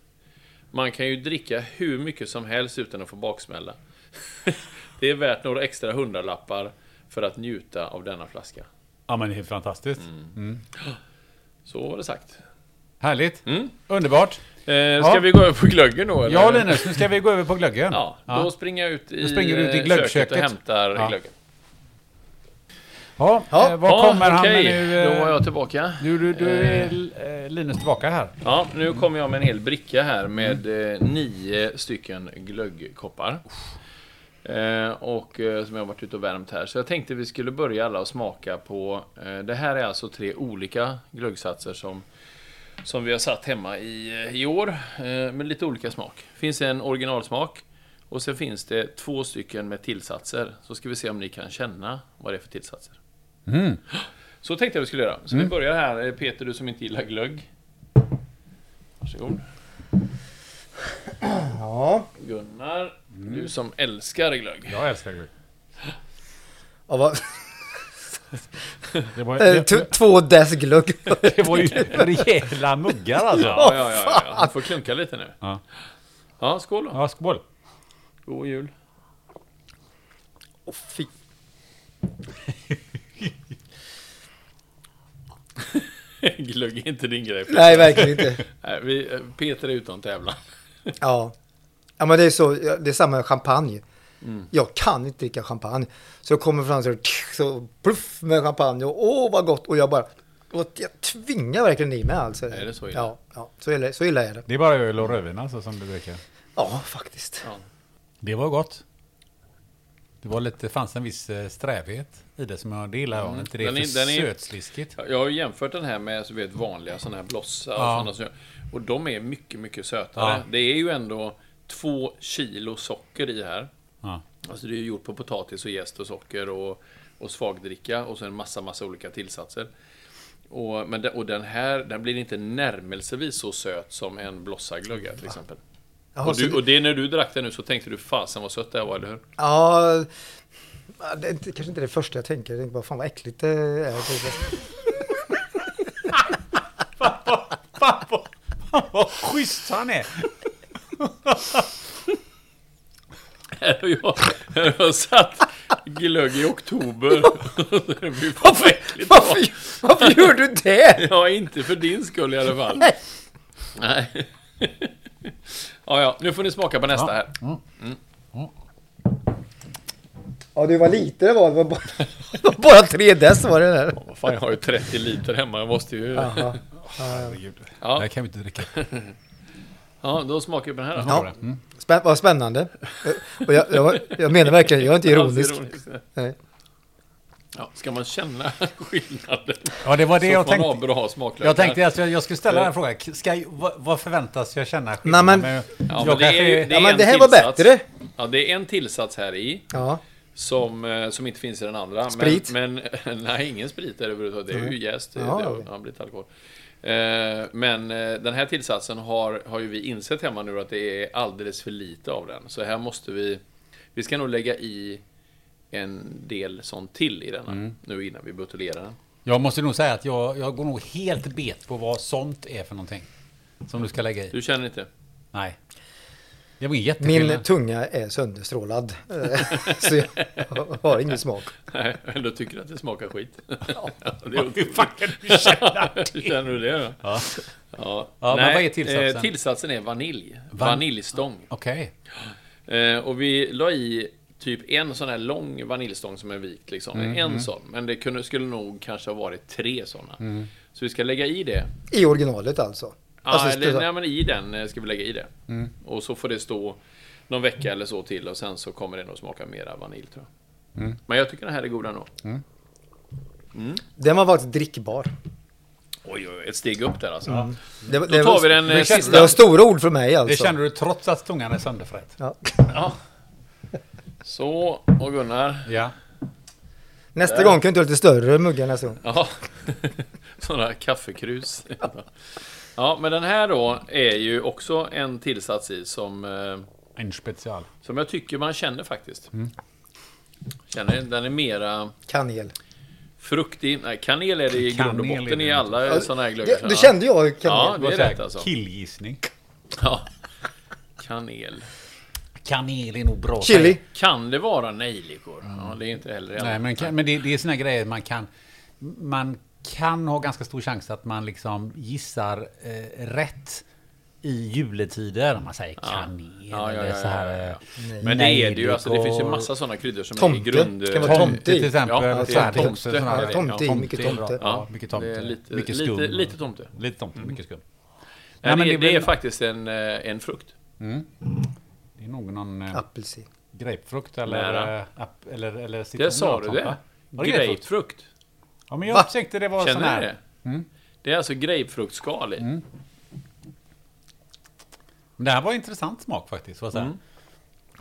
Speaker 2: Man kan ju dricka hur mycket som helst utan att få baksmälla. Det är värt några extra hundralappar för att njuta av denna flaska.
Speaker 1: Ja, men det är fantastiskt.
Speaker 2: Mm. Så var det sagt.
Speaker 1: Härligt.
Speaker 2: Mm.
Speaker 1: Underbart.
Speaker 2: Eh, ska
Speaker 1: Ja.
Speaker 2: vi gå över på glöggen då? Eller?
Speaker 1: Ja, Linus, nu ska vi gå över på glöggen.
Speaker 2: Ja, då springer jag ut i,
Speaker 1: Då springer du ut i
Speaker 2: eh, köket
Speaker 1: glöggköket.
Speaker 2: och hämtar
Speaker 1: Ja.
Speaker 2: glöggen.
Speaker 1: Ja,
Speaker 3: Ja.
Speaker 1: eh, vad
Speaker 2: Ja,
Speaker 1: kommer han med
Speaker 2: okej.
Speaker 1: nu?
Speaker 2: Då
Speaker 1: eh,
Speaker 2: var jag tillbaka.
Speaker 1: Nu du, du är eh, Linus tillbaka här.
Speaker 2: Ja, nu kommer jag med en hel bricka här med eh, nio stycken glöggkoppar. Eh, och eh, som jag har varit ute och värmt här. Så jag tänkte vi skulle börja alla och smaka på. Eh, det här är alltså tre olika glöggsatser som, som vi har satt hemma i, eh, i år. Eh, med lite olika smak. Finns en originalsmak. Och sen finns det två stycken med tillsatser. Så ska vi se om ni kan känna vad det är för tillsatser. Så tänkte jag vi skulle göra. Så vi börjar här. Eh, Peter, du som inte gillar glögg. Varsågod.
Speaker 3: Ja.
Speaker 2: Gunnar, du som älskar glögg.
Speaker 1: Jag älskar glögg.
Speaker 3: ja vad,
Speaker 1: Det var,
Speaker 3: eh,
Speaker 1: det,
Speaker 3: t- två dess glögg.
Speaker 5: Det var ju rejäla muggar alltså.
Speaker 2: Ja, ja, ja, ja. Du får klunka lite nu.
Speaker 1: Ja.
Speaker 2: Ja, skål då.
Speaker 1: ja, skål.
Speaker 2: God jul.
Speaker 3: Åh, fy.
Speaker 2: Glögg är inte din grej.
Speaker 3: Nej, verkligen inte.
Speaker 2: Nej, vi, eh, Peter är utan tävlan.
Speaker 3: Ja. ja, men det är så. ja, Det är samma med champagne.
Speaker 2: Mm.
Speaker 3: Jag kan inte dricka champagne. Så jag kommer fram så, så pluff med champagne och åh vad gott. Och jag bara, och jag tvingar verkligen i mig alltså.
Speaker 2: Är det så illa?
Speaker 3: Ja, ja så, illa, så illa är det.
Speaker 1: Det är bara öl och rödvin alltså som du dricker.
Speaker 3: Ja, faktiskt.
Speaker 2: Ja.
Speaker 1: Det var gott. Det var lite, fanns en viss eh, strävhet i det som jag det gillar. jag. Inte det
Speaker 2: Mm. Den
Speaker 1: är
Speaker 2: är-
Speaker 1: för
Speaker 2: den är-
Speaker 1: sötsliskigt.
Speaker 2: Jag har ju jämfört den här med så vet, vanliga sådana här blossa och
Speaker 1: Ja.
Speaker 2: sådana som jag- Och de är mycket, mycket sötare.
Speaker 1: Ja.
Speaker 2: Det är ju ändå två kilo socker i här.
Speaker 1: Ja.
Speaker 2: Alltså det är ju gjort på potatis och jäst och socker och, och svagdricka och så en massa, massa olika tillsatser. Och, men den, och den här, den blir inte närmelsevis så söt som en blossaglögg är, till exempel.
Speaker 3: Jaha,
Speaker 2: Och,
Speaker 3: så
Speaker 2: du,
Speaker 3: det-
Speaker 2: och det när du drack den nu så tänkte du fasen vad sött det här var, eller hur?
Speaker 3: Ja, det är inte, kanske inte det första jag tänker. Jag tänker bara, fan vad äckligt det är.
Speaker 5: Fan vad, fan vad schysst han är!
Speaker 2: Här har jag, här har jag satt glögg i oktober. Fy fan vad äckligt det var.
Speaker 3: Varför, varför gör du det?
Speaker 2: Ja, inte för din skull i alla fall.
Speaker 3: Nej.
Speaker 2: Nej. ja, ja, nu får ni smaka på nästa
Speaker 1: Ja.
Speaker 2: här.
Speaker 3: Ja, du var lite det var. Det var bara, det var bara tre dess var det där.
Speaker 2: Vad fan, jag har ju 30 liter hemma. Jag måste ju... Ja,
Speaker 3: Jaha.
Speaker 1: Herregud.
Speaker 2: Ja.
Speaker 1: Det här kan vi inte dricka.
Speaker 2: då smakar vi på den här. då.
Speaker 3: Ja. Spä, vad spännande. Och jag, jag, var- jag menar verkligen, jag är inte ironisk.
Speaker 2: Alls ironiskt.
Speaker 3: Nej.
Speaker 2: Ja, ska man känna skillnaden?
Speaker 1: Ja, det var det
Speaker 2: så
Speaker 1: jag
Speaker 2: får man
Speaker 1: tänkte.
Speaker 2: ha bra smaklökar.
Speaker 1: Jag tänkte alltså, jag skulle ställa den frågan. Ska, jag- vad, vad förväntas jag känna
Speaker 3: Nej,
Speaker 1: skillnad?
Speaker 3: men-
Speaker 2: Ja,
Speaker 1: jag
Speaker 2: men det, är,
Speaker 1: kanske
Speaker 2: ju- det, är
Speaker 3: Ja, men
Speaker 2: en
Speaker 3: det här var
Speaker 2: tillsats.
Speaker 3: bättre.
Speaker 2: Ja, det är en tillsats här i
Speaker 3: Ja,
Speaker 2: som, eh, som inte finns i den andra.
Speaker 3: Sprit?
Speaker 2: Men, men nej, ingen sprit är det överhuvudtaget. Det är ju jäst. Det,
Speaker 3: Ja,
Speaker 2: det har,
Speaker 3: okej.
Speaker 2: har blivit alkohol. Eh, Men eh, den här tillsatsen har, har ju vi insett hemma nu att det är alldeles för lite av den. Så här måste vi... Vi ska nog lägga i en del sån till i denna
Speaker 3: Mm.
Speaker 2: nu innan vi buteljerar den.
Speaker 1: Jag måste nog säga att jag, jag går nog helt bet på vad sånt är för någonting. Som du ska lägga i.
Speaker 2: Du känner inte?
Speaker 1: Nej. Det var
Speaker 3: min
Speaker 1: jätteskillnad.
Speaker 3: tunga är sönderstrålad. Eh, Så jag har ingen smak.
Speaker 2: Nej, men du tycker att det smakar skit. det är
Speaker 5: Hur
Speaker 2: otroligt.
Speaker 5: fan kan du känna det?
Speaker 2: Känner du det då? Ja. ja.
Speaker 1: Ja, men
Speaker 2: Nej,
Speaker 1: vad är tillsatsen?
Speaker 2: eh, Tillsatsen är vanilj. Vaniljstång.
Speaker 1: Okej.
Speaker 2: Eh, och vi la i typ en sån här lång vaniljstång som är vit. Liksom.
Speaker 1: Mm,
Speaker 2: En sån. Men det kunde, skulle nog kanske ha varit tre såna.
Speaker 1: Mm.
Speaker 2: Så vi ska lägga i det.
Speaker 3: I originalet alltså.
Speaker 2: Ja,
Speaker 3: Alltså,
Speaker 2: eller,
Speaker 3: sluta.
Speaker 2: nej, men i den eh, ska vi lägga i det.
Speaker 1: Mm.
Speaker 2: Och så får det stå någon vecka eller så till och sen så kommer det nog smaka mera vanilj tror jag.
Speaker 1: Mm.
Speaker 2: Men jag tycker den här är god ändå.
Speaker 3: Den var faktiskt drickbar.
Speaker 2: Oj, oj, ett steg upp där alltså.
Speaker 1: Mm.
Speaker 3: Det, var-
Speaker 2: Då
Speaker 3: var-
Speaker 2: tar vi den
Speaker 1: Det
Speaker 2: eh,
Speaker 1: känns-
Speaker 3: Det
Speaker 2: sista.
Speaker 3: var stora ord från mig
Speaker 1: Det
Speaker 3: alltså.
Speaker 1: känner du trots att tungan är sönderfrätt?
Speaker 3: Ja.
Speaker 2: Ja. Så, och Gunnar.
Speaker 1: Ja.
Speaker 3: Nästa gång kan du inte ha lite större muggar nästa gång.
Speaker 2: Ja. Sådana kaffekrus. Ja, men den här då är ju också en tillsats i som, eh,
Speaker 1: En special.
Speaker 2: som jag tycker man känner faktiskt.
Speaker 1: Mm.
Speaker 2: Känner, den är mera
Speaker 3: Kanel.
Speaker 2: fruktig. Nej, kanel är det i grund och
Speaker 1: Kanel är
Speaker 2: botten
Speaker 1: det
Speaker 2: i
Speaker 1: inte.
Speaker 2: alla sådana här glöggar.
Speaker 3: Det, det kände jag
Speaker 2: Ja,
Speaker 3: kanel.
Speaker 2: det är rätt alltså.
Speaker 1: Killgissning.
Speaker 2: Ja. Kanel.
Speaker 1: Kanel är nog bra.
Speaker 3: Chili.
Speaker 2: Kan det vara nejlikor? Ja, det är inte heller
Speaker 1: Nej, men, kan, men det, det är såna grejer man kan... Man kan ha ganska stor chans att man liksom gissar eh, rätt i juletider. Om man säger kanel
Speaker 2: Ja, ja,
Speaker 1: eller
Speaker 2: ja,
Speaker 1: så här...
Speaker 2: ja, ja,
Speaker 1: eh,
Speaker 2: Men det är det ju.
Speaker 1: nejlikor.
Speaker 2: Alltså, det finns ju massa sådana kryddor som är
Speaker 3: Tomte.
Speaker 2: i grund...
Speaker 3: Kan vara
Speaker 1: Tomte
Speaker 3: Tomte i.
Speaker 1: till exempel.
Speaker 2: Ja,
Speaker 1: Ja,
Speaker 2: det är
Speaker 1: tomte.
Speaker 2: tomte.
Speaker 1: Också, sån
Speaker 2: Ja,
Speaker 1: här,
Speaker 3: tomte, mycket
Speaker 1: är bra.
Speaker 3: tomte.
Speaker 1: Ja, mycket tomte.
Speaker 2: Det är lite-
Speaker 1: mycket
Speaker 2: lite-
Speaker 1: skum.
Speaker 2: lite tomte. Mm.
Speaker 1: Lite tomte, mycket skum.
Speaker 2: Nej,
Speaker 1: men
Speaker 2: det,
Speaker 1: det
Speaker 2: det,
Speaker 1: är väl-
Speaker 2: är faktiskt en, eh, en frukt.
Speaker 1: Det är nog någon eh,
Speaker 3: Apelsin.
Speaker 1: grapefrukt eller...
Speaker 2: Nära.
Speaker 1: eh, app- eller, eller citron.
Speaker 2: Det sa du
Speaker 1: eller något sånt,
Speaker 2: det?
Speaker 1: va? Var det grapefrukt?
Speaker 2: Grapefrukt.
Speaker 1: Ja, men
Speaker 3: Va?
Speaker 1: jag tänkte det var sån
Speaker 2: Känner
Speaker 1: här... Mm.
Speaker 2: du det? Det är alltså grapefruktskal i.
Speaker 1: Men det här var intressant smak faktiskt. Vad mm.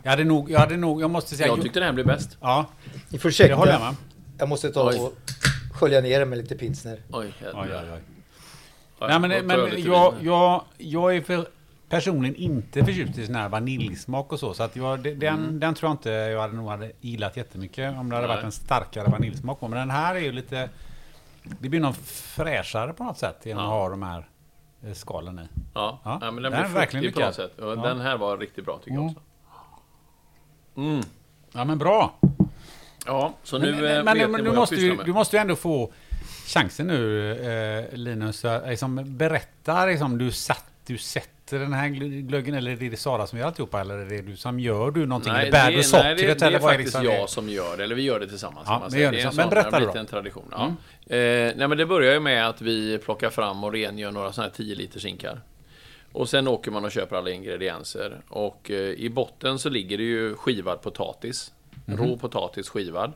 Speaker 1: Jag hade nog, jag hade nog, jag måste säga...
Speaker 2: Jag tyckte den här blev bäst.
Speaker 1: Ja,
Speaker 3: Ni får
Speaker 1: det håller jag
Speaker 3: ursäkta.
Speaker 1: med.
Speaker 3: Jag måste ta
Speaker 2: Oj.
Speaker 3: och skölja ner det med lite pilsner.
Speaker 2: Oj,
Speaker 1: Oj,
Speaker 2: jädrar.
Speaker 1: oj, oj. Nej, men,
Speaker 2: jag tar lite
Speaker 1: men
Speaker 2: vin
Speaker 1: jag,
Speaker 2: här.
Speaker 1: jag, jag är för personligen inte förtjust i sån här vaniljsmak och så. Så att jag, det- den, den tror jag inte jag hade, nog hade gillat jättemycket om det hade
Speaker 2: Mm. Nej.
Speaker 1: varit en starkare vaniljsmak på. Men den här är ju lite... Det blir någon fräschare på något sätt genom
Speaker 2: Ja.
Speaker 1: att ha de här eh, skalen i.
Speaker 2: Ja,
Speaker 1: Ja,
Speaker 2: ja, men den,
Speaker 1: den är
Speaker 2: blir
Speaker 1: verkligen
Speaker 2: fruktig på
Speaker 1: mycket
Speaker 2: något sätt. Och
Speaker 1: Ja. Mm.
Speaker 2: Den här var riktigt bra tycker jag också.
Speaker 1: Ja men bra!
Speaker 2: Ja, så nu
Speaker 1: Men,
Speaker 2: eh,
Speaker 1: men,
Speaker 2: vet ni
Speaker 1: men,
Speaker 2: vad
Speaker 1: du,
Speaker 2: jag
Speaker 1: måste
Speaker 2: pysslar
Speaker 1: ju,
Speaker 2: med.
Speaker 1: du måste ju ändå få chansen nu eh, Linus. eh, Liksom, berätta, liksom, du, satt, du sätter den här gl- glöggen eller är det Sara som gör alltihopa? Eller är det du som gör du någonting? eller bär du sockret?
Speaker 2: det, det är
Speaker 1: eller vad
Speaker 2: faktiskt
Speaker 1: liksom
Speaker 2: jag som gör det, eller vi gör det tillsammans.
Speaker 1: Ja,
Speaker 2: kan man
Speaker 1: det
Speaker 2: säga.
Speaker 1: gör ni
Speaker 2: är en
Speaker 1: så- men
Speaker 2: sån- det har
Speaker 1: berätta
Speaker 2: blivit
Speaker 1: då. Mm.
Speaker 2: en tradition. Ja. Eh, nej, men det börjar ju med att vi plockar fram och rengör några sådana här 10 liters hinkar. Och sen åker man och köper alla ingredienser. Och eh, i botten så ligger det ju skivad potatis. Rå potatis skivad.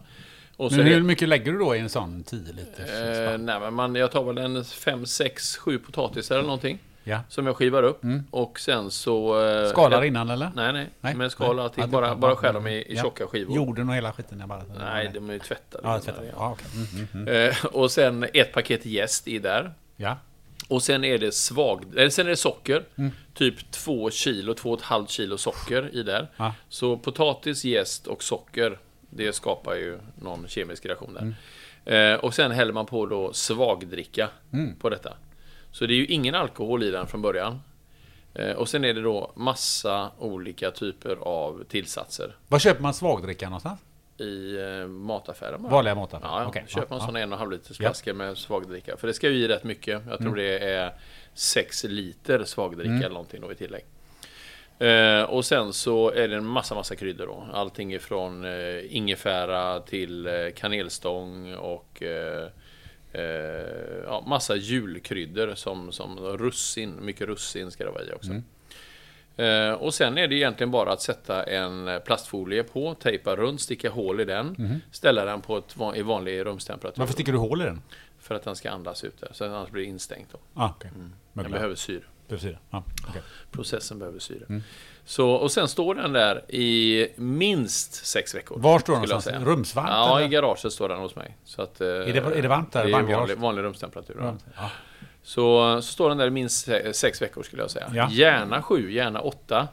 Speaker 2: Och
Speaker 1: Mhm.
Speaker 2: så
Speaker 1: Men
Speaker 2: är det-
Speaker 1: hur mycket lägger du då i en sån 10 liters?
Speaker 2: Eh, nej, men man, jag tar väl en fem, sex, sju potatisar eller någonting.
Speaker 1: Ja. Mm.
Speaker 2: Som jag skivar upp. Och sen så... eh,
Speaker 1: Skalar
Speaker 2: jag,
Speaker 1: innan eller?
Speaker 2: Nej, nej.
Speaker 1: Nej,
Speaker 2: Men skala
Speaker 1: nej.
Speaker 2: allting.
Speaker 1: Ja,
Speaker 2: Bara,
Speaker 1: det-
Speaker 2: bara skär dem i, i
Speaker 1: ja.
Speaker 2: tjocka skivor.
Speaker 1: Jorden och hela skiten. Jag bara,
Speaker 2: Nej, de är ju tvättade.
Speaker 1: Ja, tvätta. ja, okej. mm, mm.
Speaker 2: Eh, och sen ett paket jäst i där.
Speaker 1: ja.
Speaker 2: Och sen är det svag, eller sen är det socker.
Speaker 1: Mm.
Speaker 2: Typ två kilo, två och ett halvt kilo socker i där.
Speaker 1: Ja.
Speaker 2: Så potatis, jäst och socker. Det skapar ju någon kemisk reaktion där.
Speaker 1: Mm.
Speaker 2: Eh, och sen häller man på då svagdricka på detta. Så det är ju ingen alkohol i den från början. Eh, och sen är det då massa olika typer av tillsatser
Speaker 1: Var köper man svagdricka någonstans?
Speaker 2: i eh, mataffären. bara.
Speaker 1: Vanliga mataffärer?
Speaker 2: Ja, ja.
Speaker 1: Okej,
Speaker 2: köp
Speaker 1: ja,
Speaker 2: en
Speaker 1: ja. Mm.
Speaker 2: sån en och en halv liters flaska med svagdricka. För det ska ju i rätt mycket. Jag tror det är 6 liter svagdricka eller någonting då i tillägg. Eh, och sen så är det en massa, massa kryddor då. Allting ifrån eh, ingefära till eh, kanelstång och eh, eh, ja, massa julkryddor som, som russin. Mycket russin ska det vara i också. Eh, Och sen är det egentligen bara att sätta en plastfolie på, tejpa runt, sticka hål i den, ställa den på ett, van- i vanlig rumstemperatur.
Speaker 1: Varför sticker du hål i den?
Speaker 2: För att den ska andas ut där, så annars blir det instängt. Då.
Speaker 1: Ah, okay.
Speaker 2: Den Mm. behöver syre.
Speaker 1: Behöver... Ja, okej.
Speaker 2: Processen behöver syre.
Speaker 1: Mm.
Speaker 2: Så, och sen står den där i minst sex veckor.
Speaker 1: Var står den
Speaker 2: skulle jag
Speaker 1: någonstans?
Speaker 2: säga.
Speaker 1: Rumsvarmt,
Speaker 2: Ja, i
Speaker 1: eller?
Speaker 2: garaget står den hos mig. Så att, är,
Speaker 1: det- är det varmt där?
Speaker 2: Det är
Speaker 1: Varm
Speaker 2: vanlig,
Speaker 1: garage?
Speaker 2: vanlig rumstemperatur. ja.
Speaker 1: Ja.
Speaker 2: Så, så står den där i minst se- sex veckor skulle jag säga.
Speaker 1: Ja. Mm.
Speaker 2: Gärna sju, gärna åtta.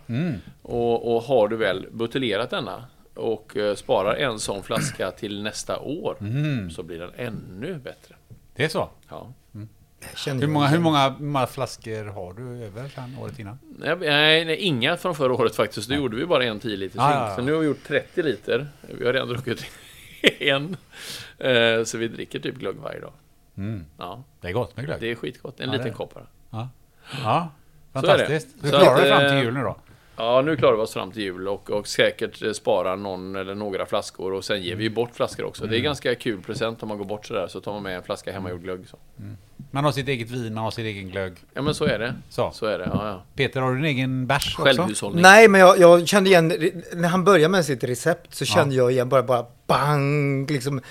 Speaker 2: Och, och har du väl buteljerat denna och eh, sparar en sån flaska till nästa år
Speaker 1: Mm.
Speaker 2: så blir den ännu bättre.
Speaker 1: Det är så?
Speaker 2: Ja.
Speaker 3: Känner
Speaker 1: Hur
Speaker 3: jag
Speaker 1: många, hur
Speaker 3: igen.
Speaker 1: många, hur många flaskor har du över sedan året innan?
Speaker 2: Nej, nej, nej, inga från förra året faktiskt. Då gjorde vi bara en 10 liters
Speaker 1: Ja,
Speaker 2: hink.
Speaker 1: Ah, ja, ja.
Speaker 2: Så nu har vi gjort 30 liter. Vi har redan druckit en. Eh, Så vi dricker typ glögg varje dag. Ja,
Speaker 1: Det är gott med glögg.
Speaker 2: det är skitgott. En
Speaker 1: Mm. Ja, det
Speaker 2: liten
Speaker 1: är.
Speaker 2: kopp bara.
Speaker 1: Ja. ja.
Speaker 2: Så är det.
Speaker 1: Fantastiskt. Du
Speaker 2: Så
Speaker 1: klarar
Speaker 2: att,
Speaker 1: dig fram till
Speaker 2: eh,
Speaker 1: jul nu då?
Speaker 2: Ja, nu klarar vi oss fram till jul och, och säkert eh, spara någon eller några flaskor och sen ger
Speaker 1: Mm.
Speaker 2: vi ju bort flaskor också. Det är ganska kul present om man går bort sådär så tar man med en flaska hemmagjord glögg. Så.
Speaker 1: Man har sitt eget vin, man har sin egen glögg.
Speaker 2: Ja, men så är det.
Speaker 1: Så.
Speaker 2: är det, ja, ja.
Speaker 1: Peter, har du din egen bärs också?
Speaker 2: Självhushållning.
Speaker 3: Nej, men jag, jag kände igen, när han började med sitt recept så kände jag igen bara, bara bang, liksom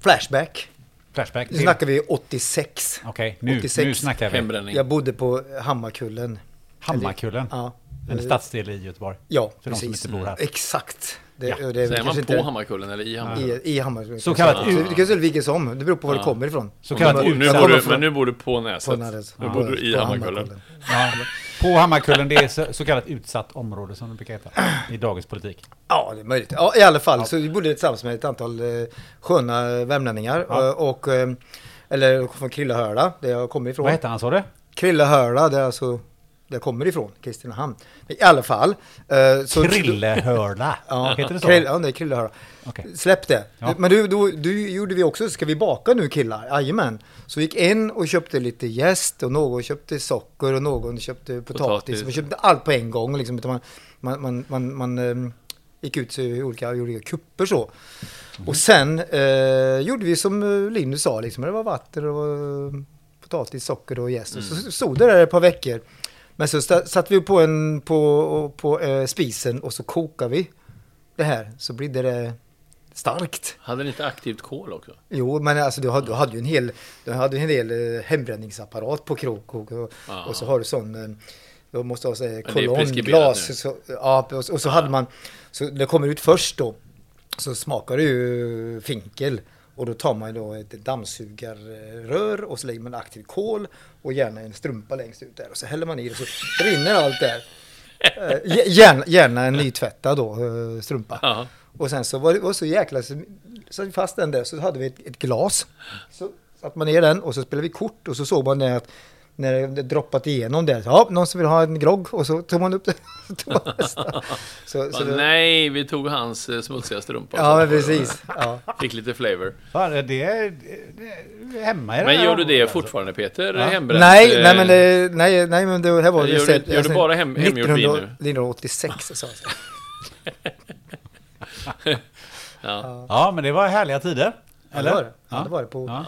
Speaker 3: flashback.
Speaker 1: Flashback?
Speaker 3: Nu
Speaker 1: till-
Speaker 3: snackar vi 86.
Speaker 1: Okej, nu,
Speaker 3: 86.
Speaker 1: nu snackar vi.
Speaker 2: Hembränning.
Speaker 3: Jag bodde på Hammarkullen.
Speaker 1: Hammarkullen.
Speaker 3: Ja,
Speaker 1: En stadsdel i Göteborg.
Speaker 3: ja
Speaker 1: För de som
Speaker 3: precis.
Speaker 1: inte bor här.
Speaker 3: Exakt. Det,
Speaker 1: Ja.
Speaker 3: och det är väl
Speaker 2: Säger man på
Speaker 3: kanske inte
Speaker 2: Hammarkullen eller i Hammarkullen?
Speaker 3: i, i Hammarkullen.
Speaker 1: Så kallat
Speaker 3: Du
Speaker 1: ut-
Speaker 3: kan säga vilket som, det beror på var du kommer ifrån.
Speaker 1: Så kallat
Speaker 3: Jag
Speaker 1: ut-
Speaker 2: Nu
Speaker 3: jag
Speaker 2: bor
Speaker 3: kommer
Speaker 2: du,
Speaker 3: från-
Speaker 2: men nu bor du på Näset.
Speaker 3: från Närhet.
Speaker 2: Nu bor du i
Speaker 3: På
Speaker 2: Hammarkullen.
Speaker 1: Ja. På Hammarkullen, det är så, så kallat utsatt område som det brukar heta i dagens politik.
Speaker 3: Ja, det är möjligt. Ja, I alla fall, så vi bodde tillsammans med ett antal eh, sköna värmlänningar. eh, Och, eh, eller från Krillehörla, där jag kommer ifrån.
Speaker 1: Vad heter han sa du?
Speaker 3: Krillehörla, det är alltså där jag kommer ifrån, Kristinehamn. I alla fall. eh, så-
Speaker 1: Krillehörla?
Speaker 3: Ja,
Speaker 1: Heter det så?
Speaker 3: Krill, ja, det är Krillehörla.
Speaker 1: Okej.
Speaker 3: Släpp det.
Speaker 1: Ja.
Speaker 3: Men du, då, du gjorde vi också, ska vi baka nu killar? Jajamän. Så gick en och köpte lite jäst och någon köpte socker och någon köpte potatis.
Speaker 2: Potatis.
Speaker 3: Man köpte allt på en gång liksom. Utan man, man, man, man, man ehm, gick ut i olika, i olika kupper så. Och sen eh, gjorde vi som eh, Linus sa, liksom, det var vatten och eh, potatis, socker och jäst. Och så stod det där ett par veckor. Men så sta- satte vi på, en, på, på eh, spisen och så kokade vi det här. Så blev det eh, starkt.
Speaker 2: Hade ni inte aktivt kol också?
Speaker 3: Jo, men alltså du hade, du hade ju en hel, du hade ju en hel eh, hembränningsapparat på krok och, och,
Speaker 2: Ja.
Speaker 3: och så har du sån, eh, du måste ha så här
Speaker 2: det är preskriberat nu.
Speaker 3: kolonnglas. Så, ja, och, så- och så hade man, så det kommer ut först då, så smakar det ju finkel. Och då tar man ju då ett dammsugarrör och så lägger man aktivt kol och gärna en strumpa längst ut där. Och så häller man i det så rinner allt där. Eh, gär- Gärna, gärna en nytvättad då, eh, strumpa.
Speaker 2: Ja.
Speaker 3: Och sen så var det var så jäkla... Så satt fast den där så hade vi ett, ett glas. Så satte man ner den och så spelade vi kort och så såg man det att när det hade droppat igenom där. Så, ja, någon som vill ha en grogg? Och så tog man upp den. så tog man nästa. Så, så
Speaker 2: Bara,
Speaker 3: det,
Speaker 2: Nej, vi tog hans eh, smutsiga strumpa.
Speaker 3: ja, men precis. Ja.
Speaker 2: Fick lite flavor.
Speaker 1: Fan, det, är- det är hemma i det
Speaker 2: Men
Speaker 1: här
Speaker 2: gör du det
Speaker 1: området,
Speaker 2: fortfarande Peter? Hembränt?
Speaker 3: Nej,
Speaker 2: eh,
Speaker 3: nej men, det, nej, nej, men det här var
Speaker 2: Gör du-
Speaker 3: sett-
Speaker 2: gör du bara hem- hemgjort vin nu?
Speaker 3: 1900 1986 sa jag.
Speaker 2: Ja.
Speaker 1: Alltså. Ja, men det var härliga tider.
Speaker 3: Eller?
Speaker 1: Eller?
Speaker 3: Ja, det var det. Ja, det var det på,
Speaker 1: Ja.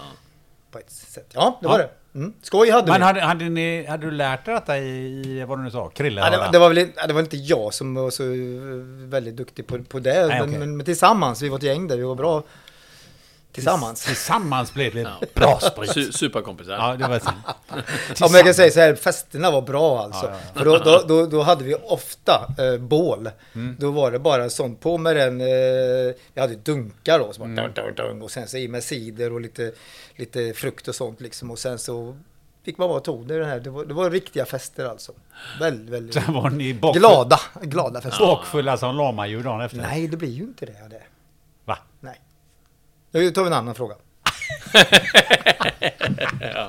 Speaker 3: på ett sätt. Ja, det var
Speaker 1: Ja.
Speaker 3: det. Mm. Skoj hade
Speaker 1: Men
Speaker 3: vi.
Speaker 1: hade, hade, ni, hade du lärt dig detta i, i vad du nu sa? Krille?
Speaker 3: Ja, det,
Speaker 1: va?
Speaker 3: var- det, var väl, ja, det var inte jag som var så eh, väldigt duktig på, på det,
Speaker 1: Nej,
Speaker 3: men,
Speaker 1: okej.
Speaker 3: men, men tillsammans, vi var ett gäng där, vi var bra tillsammans.
Speaker 1: Tillsammans blev det bra sprit.
Speaker 2: Su- Superkompisar.
Speaker 1: Ja, det var sant.
Speaker 3: Ja, men jag kan säga så här, festerna var bra alltså.
Speaker 1: Ja,
Speaker 3: För då, då, då, då hade vi ofta eh, bål.
Speaker 1: Mm.
Speaker 3: Då var det bara sånt på med den. Eh, vi hade dunkar då, som
Speaker 1: Mm.
Speaker 3: var, dun, dun, dun, och sen så i med cider och lite, lite frukt och sånt liksom. Och sen så fick man bara tog det här. Det var, det var riktiga fester alltså. Väldigt, väldigt
Speaker 1: Sen var ni bak,
Speaker 3: glada, glada fester.
Speaker 1: bakfulla som lamadjur dagen efter.
Speaker 3: Nej, det blir ju inte det. det.
Speaker 1: Va?
Speaker 3: Nej. Nu tar vi en annan fråga.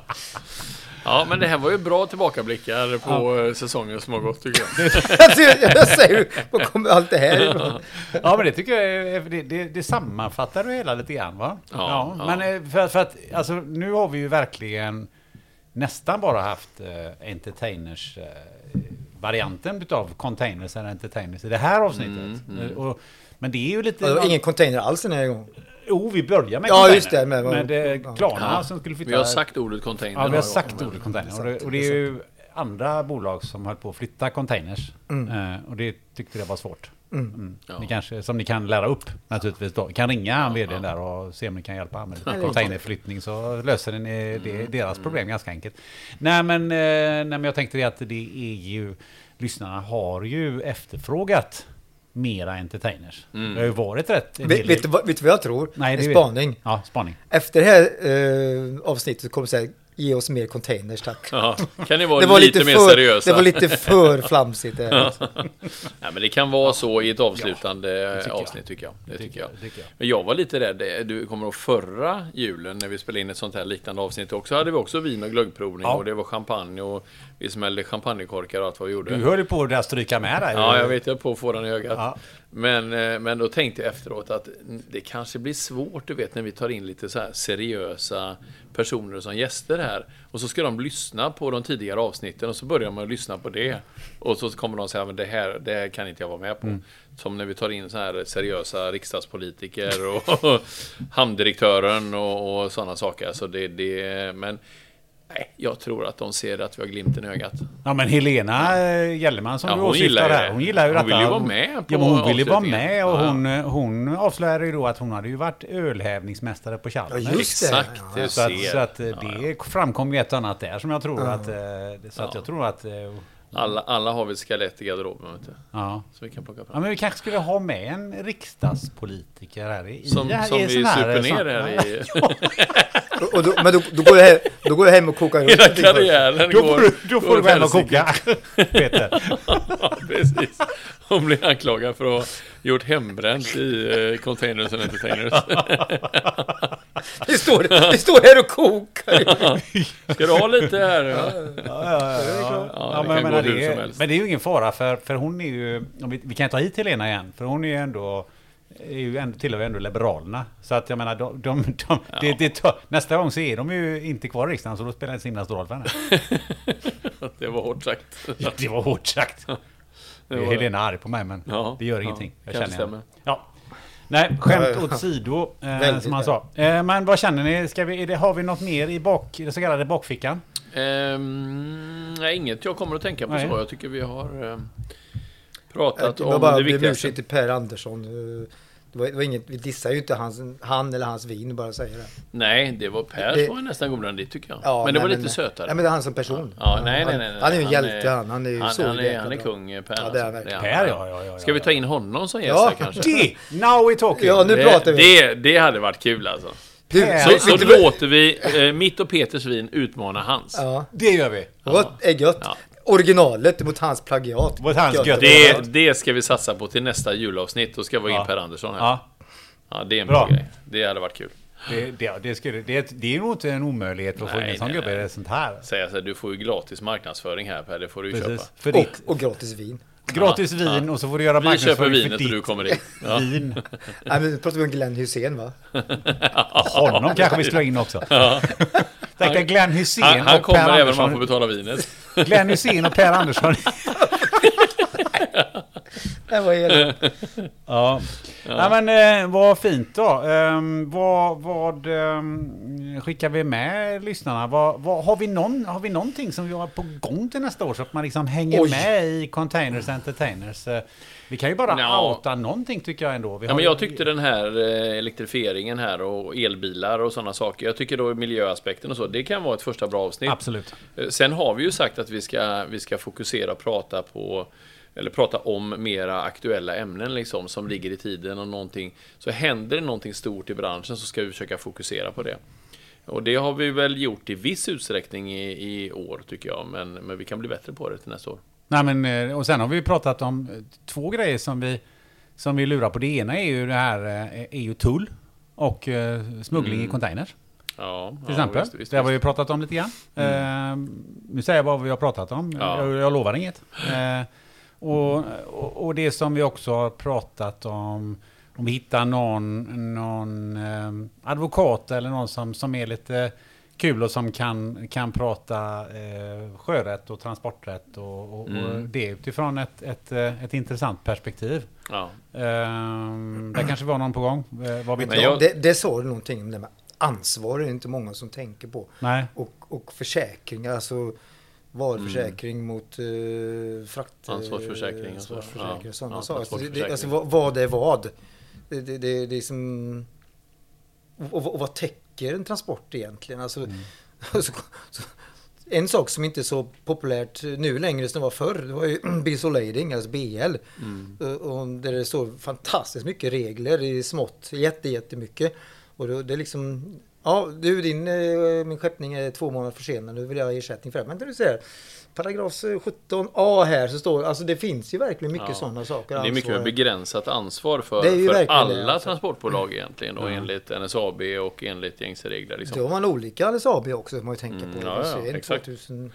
Speaker 2: Ja, men det här var ju bra tillbakablickar på eh, säsongen som har gått tycker jag.
Speaker 3: Alltså, jag, jag säger ju, var kommer allt det här ifrån?
Speaker 1: Ja, men det tycker jag är, det, det, det sammanfattar du hela lite grann, va?
Speaker 2: Ja, ja.
Speaker 1: Men eh, för, att- för att, alltså, nu har vi ju verkligen nästan bara haft eh, entertainers eh, varianten utav containers eller entertainers i det här
Speaker 2: Mm,
Speaker 1: avsnittet. Eh, Och, men det är ju lite...
Speaker 3: Ja, det var ingen container alls den här gången.
Speaker 1: Jo, vi börjar med
Speaker 3: Ja,
Speaker 1: container.
Speaker 3: just det, med-
Speaker 1: Med, eh, Klarna
Speaker 2: Ja.
Speaker 1: som skulle flytta...
Speaker 2: Vi har sagt ordet container
Speaker 1: Ja, vi
Speaker 2: några
Speaker 1: har sagt
Speaker 2: gånger, men-
Speaker 1: ordet container. Och det, och det är ju andra bolag som höll på att flytta containers.
Speaker 3: Mm.
Speaker 1: Eh, och det tyckte jag var svårt. Mm.
Speaker 2: Ja.
Speaker 1: Ni kanske, som ni kan lära upp naturligtvis. Då. Ni kan ringa han vd där och se om ni kan hjälpa han med lite containerflyttning så löser ni det,
Speaker 2: Mm.
Speaker 1: deras problem ganska enkelt. Nej men, eh, nej men jag tänkte det att det är ju, lyssnarna har ju efterfrågat mera entertainers.
Speaker 2: Mm.
Speaker 1: Det har ju varit rätt. en
Speaker 3: Vet,
Speaker 1: del-
Speaker 3: vet, du vad, vet du vad jag tror?
Speaker 1: Nej, det
Speaker 3: en
Speaker 1: vet-
Speaker 3: spaning.
Speaker 1: Ja, spaning.
Speaker 3: Efter det här eh, avsnittet kommer det säga ge oss mer containers tack.
Speaker 2: Ja, kan ni vara lite, mer
Speaker 3: för,
Speaker 2: seriösa?
Speaker 3: Det var lite för flamsigt. Det, här, alltså.
Speaker 2: Nej, men det kan vara så i ett avslutande eh, avsnitt tycker jag. Det tycker jag.
Speaker 1: jag, det tycker jag.
Speaker 2: Men jag var lite rädd. Du kommer ihåg förra julen när vi spelade in ett sånt här liknande avsnitt också. hade vi också vin och glöggprovning
Speaker 1: Ja.
Speaker 2: och det var champagne och vi smällde champagnekorkar och allt vad vi gjorde.
Speaker 1: Du höll ju på att stryka med där.
Speaker 2: Ja, jag vet, jag på att få den i ögat.
Speaker 1: Ja.
Speaker 2: Men, eh, men då tänkte jag efteråt att det kanske blir svårt, du vet, när vi tar in lite så här seriösa personer som gäster här. Och så ska de lyssna på de tidigare avsnitten och så börjar man lyssna på det. Och så kommer de säga, men det här, det här kan inte jag vara med på.
Speaker 1: Mm.
Speaker 2: Som när vi tar in så här seriösa riksdagspolitiker och hamndirektören och, och sådana saker. Så det, det, men nej, jag tror att de ser att vi har glimten i ögat.
Speaker 1: Ja men Helena eh, Gellerman som
Speaker 2: Ja,
Speaker 1: du
Speaker 2: hon gillar
Speaker 1: åsyftar
Speaker 2: det.
Speaker 1: här, hon gillar ju
Speaker 2: Hon
Speaker 1: detta.
Speaker 2: vill ju vara med på
Speaker 1: ja, men hon ville vara
Speaker 2: avslutningen.
Speaker 1: med och
Speaker 2: Ja.
Speaker 1: hon, eh, hon avslöjade ju då att hon hade ju varit ölhävningsmästare på Chalmers.
Speaker 3: Ja, just
Speaker 2: Exakt,
Speaker 3: Ja,
Speaker 2: du
Speaker 1: så att,
Speaker 2: ser.
Speaker 1: så att eh, det framkom ju ett och annat där som jag tror att... eh, Så att jag tror att... eh,
Speaker 2: Alla, alla har vi ett skelett i garderoben, vet du.
Speaker 1: Ja.
Speaker 2: Så vi kan plocka fram.
Speaker 1: ja men vi kanske skulle ha med en riksdagspolitiker här i...
Speaker 2: Som,
Speaker 1: i,
Speaker 2: som
Speaker 1: i
Speaker 2: vi
Speaker 1: sån här-
Speaker 2: super ner
Speaker 1: sån-
Speaker 2: här i...
Speaker 3: och, och då, men då, då, går jag hem, då går jag hem och kokar ihop.
Speaker 2: Hela
Speaker 3: någonting först.
Speaker 2: karriären
Speaker 1: Då
Speaker 2: går...
Speaker 1: får du, då får
Speaker 2: går
Speaker 1: du gå hem och
Speaker 2: åt helsike.
Speaker 1: koka, Peter.
Speaker 2: ja, precis. Hon blir anklagad för att ha gjort hembränt i eh, containers and entertainers.
Speaker 3: Vi står, vi står här och kokar.
Speaker 2: Ska du ha lite här?
Speaker 1: Ja,
Speaker 2: Ja,
Speaker 1: men, jag
Speaker 2: det kan gå
Speaker 1: menar,
Speaker 2: hur
Speaker 1: det,
Speaker 2: som
Speaker 1: är-
Speaker 2: helst.
Speaker 1: men det är ju ingen fara för, för hon är ju, om vi, vi kan ta hit Helena igen, för hon är ju ändå, är ju ändå tillhör ju ändå Liberalerna. Så att jag menar, de, de, de, det, det, tar- nästa gång så är de ju inte kvar i riksdagen, så då spelar det inte så himla stor roll för henne.
Speaker 2: Det var hårt sagt.
Speaker 1: Det var hårt sagt.
Speaker 2: Det var det.
Speaker 1: Helena är arg på mig, men
Speaker 2: Ja,
Speaker 1: det gör
Speaker 2: ja,
Speaker 1: ingenting. jag
Speaker 2: kanske
Speaker 1: känner henne.
Speaker 2: stämmer.
Speaker 1: Ja. Nej, skämt
Speaker 3: Ja, ja.
Speaker 1: åsido, eh,
Speaker 3: Väldigt
Speaker 1: som han
Speaker 3: väl.
Speaker 1: sa. Eh, men vad känner ni? Ska vi, är det, har vi något mer i, bak, i den så kallade bakfickan?
Speaker 2: Ehm, nej, inget jag kommer att tänka på
Speaker 1: Nej.
Speaker 2: så. Jag tycker vi har ehm, pratat
Speaker 3: Jag
Speaker 2: om
Speaker 3: bara
Speaker 2: det
Speaker 3: ber om
Speaker 2: viktigaste.
Speaker 3: ursäkt till Per Andersson. eh, Det var, det var inget, vi dissar ju inte hans, han eller hans vin, bara säger det.
Speaker 2: Nej, det var Per
Speaker 3: Det-
Speaker 2: som var nästan godare än det tycker jag.
Speaker 3: Ja,
Speaker 2: men det
Speaker 3: nej,
Speaker 2: var lite
Speaker 3: nej.
Speaker 2: sötare.
Speaker 3: Nej, men det är han som person.
Speaker 2: Ja, nej, nej, nej, nej.
Speaker 3: Han, han är ju en hjälte, han. Han är ju
Speaker 2: han,
Speaker 3: så
Speaker 2: han, är,
Speaker 3: jäkla
Speaker 2: han är
Speaker 3: bra.
Speaker 2: kung, eh, Per.
Speaker 3: Ja, det
Speaker 2: alltså.
Speaker 3: är han verkligen.
Speaker 2: han.
Speaker 1: Per, ja, ja, ja,
Speaker 2: Ska vi
Speaker 1: ja,
Speaker 2: ta in honom som gäst
Speaker 3: Ja,
Speaker 2: här kanske?
Speaker 1: Det! Now we talking!
Speaker 3: Ja, nu
Speaker 2: det,
Speaker 3: pratar vi.
Speaker 2: Det, det hade varit kul alltså.
Speaker 3: Du,
Speaker 2: Så, så
Speaker 3: vet du vad-
Speaker 2: låter vi eh, mitt och Peters vin utmana hans.
Speaker 3: Ja,
Speaker 1: Det gör vi.
Speaker 3: gott är gött.
Speaker 2: Ja.
Speaker 3: Originalet mot hans plagiat.
Speaker 1: Mot hans gött.
Speaker 2: Det, det ska vi satsa på till nästa julavsnitt. Då ska vi ha in
Speaker 1: Ja.
Speaker 2: Per Andersson här. Ja.
Speaker 1: Ja,
Speaker 2: det är en
Speaker 1: Bra.
Speaker 2: bra grej. Det hade varit kul.
Speaker 1: det, det, det, skulle, det, det är nog inte en omöjlighet att få
Speaker 2: Nej,
Speaker 1: in en sån
Speaker 2: nej,
Speaker 1: gubbe i
Speaker 2: nej.
Speaker 1: det sånt här.
Speaker 2: Säga så här, du får ju gratis marknadsföring här Per, det får du ju köpa.
Speaker 1: Precis. För ditt
Speaker 3: Och, och gratis vin.
Speaker 1: gratis
Speaker 2: Ja,
Speaker 1: vin
Speaker 2: ja.
Speaker 1: och så får du göra
Speaker 2: Vi köper
Speaker 1: marknadsföring för
Speaker 2: vinet och du
Speaker 1: ditt
Speaker 2: kommer in. Ja.
Speaker 1: vin.
Speaker 3: Nej, men nu pratar vi om Glenn Hysén va?
Speaker 1: Honom kanske vi slår in också. Tänk dig Glenn Hysén
Speaker 2: Han, han
Speaker 1: och Per
Speaker 2: kommer även om han får
Speaker 1: Andersson.
Speaker 2: betala vinet.
Speaker 1: Glenn Hysén och Per Andersson.
Speaker 3: Det var hela.
Speaker 1: Ja. Nej, men eh, vad fint då. Ehm, vad vad ehm, skickar vi med lyssnarna? Vad, vad, har, vi någon, har vi någonting som vi har på gång till nästa år så att man liksom hänger
Speaker 3: Oj.
Speaker 1: med i Containers Entertainers? Eh, Vi kan ju bara
Speaker 2: Ja.
Speaker 1: outa någonting tycker jag ändå. Vi
Speaker 2: Ja,
Speaker 1: har
Speaker 2: men
Speaker 1: ju-
Speaker 2: jag tyckte den här eh, elektrifieringen här och elbilar och sådana saker. Jag tycker då miljöaspekten och så, det kan vara ett första bra avsnitt.
Speaker 1: Absolut.
Speaker 2: Eh, Sen har vi ju sagt att vi ska, vi ska fokusera och prata på eller prata om mera aktuella ämnen liksom, som ligger i tiden och någonting. Så händer det någonting stort i branschen så ska vi försöka fokusera på det. Och det har vi väl gjort i viss utsträckning i, i år tycker jag, men, men vi kan bli bättre på det till nästa år.
Speaker 1: Nej, men, eh, och sen har vi ju pratat om eh, två grejer som vi, som vi lurar på. Det ena är ju det här eh, är ju tull och eh, smuggling i containers.
Speaker 2: Ja,
Speaker 1: Till exempel.
Speaker 2: Ja, visst, visst,
Speaker 1: det har vi
Speaker 2: visst. Mm.
Speaker 1: ju pratat om lite grann. Eh, nu säger jag bara vad vi har pratat om.
Speaker 2: Ja.
Speaker 1: Jag, jag lovar inget. Eh, och, och, och det som vi också har pratat om. Om vi hittar någon, någon eh, advokat eller någon som, som är lite kul och som kan, kan prata eh, sjörätt och transporträtt och, och, och
Speaker 2: Mm.
Speaker 1: det utifrån ett, ett, eh, ett intressant perspektiv.
Speaker 2: Ja.
Speaker 1: Eh, där kanske var någon på gång. Eh, vad vet
Speaker 2: Men
Speaker 1: jag?
Speaker 2: jag-
Speaker 3: Det, det sa du någonting om det med ansvar. Det är inte många som tänker på.
Speaker 1: Nej.
Speaker 3: Och, och försäkringar, alltså varuförsäkring mot eh, frakt...
Speaker 2: Ansvarsförsäkring och så.
Speaker 3: Ansvarsförsäkring
Speaker 2: Ja,
Speaker 3: och sådana
Speaker 2: ja,
Speaker 3: saker. Alltså, det- det,
Speaker 2: transportförsäkring.
Speaker 3: alltså vad, vad är vad? Det, det, det, det är som... Och, och vad täcker en transport egentligen? Alltså,
Speaker 2: Mm.
Speaker 3: så, så, en sak som inte är så populärt nu längre som det var förr, det var ju Bisolating, alltså BL.
Speaker 2: Mm.
Speaker 3: Och, och där det står fantastiskt mycket regler i smått, jätte, jättemycket. Och det, det är liksom, ja du din, eh, min skeppning är två månader försenad, nu vill jag ha ersättning för det. Men du ser, paragraf 17a här så står, alltså det finns ju verkligen mycket
Speaker 2: Ja.
Speaker 3: sådana saker. alltså.
Speaker 2: Det är mycket
Speaker 3: ansvar.
Speaker 2: mer begränsat ansvar för,
Speaker 3: Det är ju
Speaker 2: för
Speaker 3: verkligen
Speaker 2: alla
Speaker 3: det, alltså.
Speaker 2: transportbolag egentligen. Då, Enligt NSAB och enligt gängse regler. Liksom.
Speaker 3: Då har man olika LSAB också, får man ju tänka på.
Speaker 2: Mm, ja,
Speaker 3: Det
Speaker 2: ja,
Speaker 3: är en
Speaker 2: exakt.
Speaker 3: 2000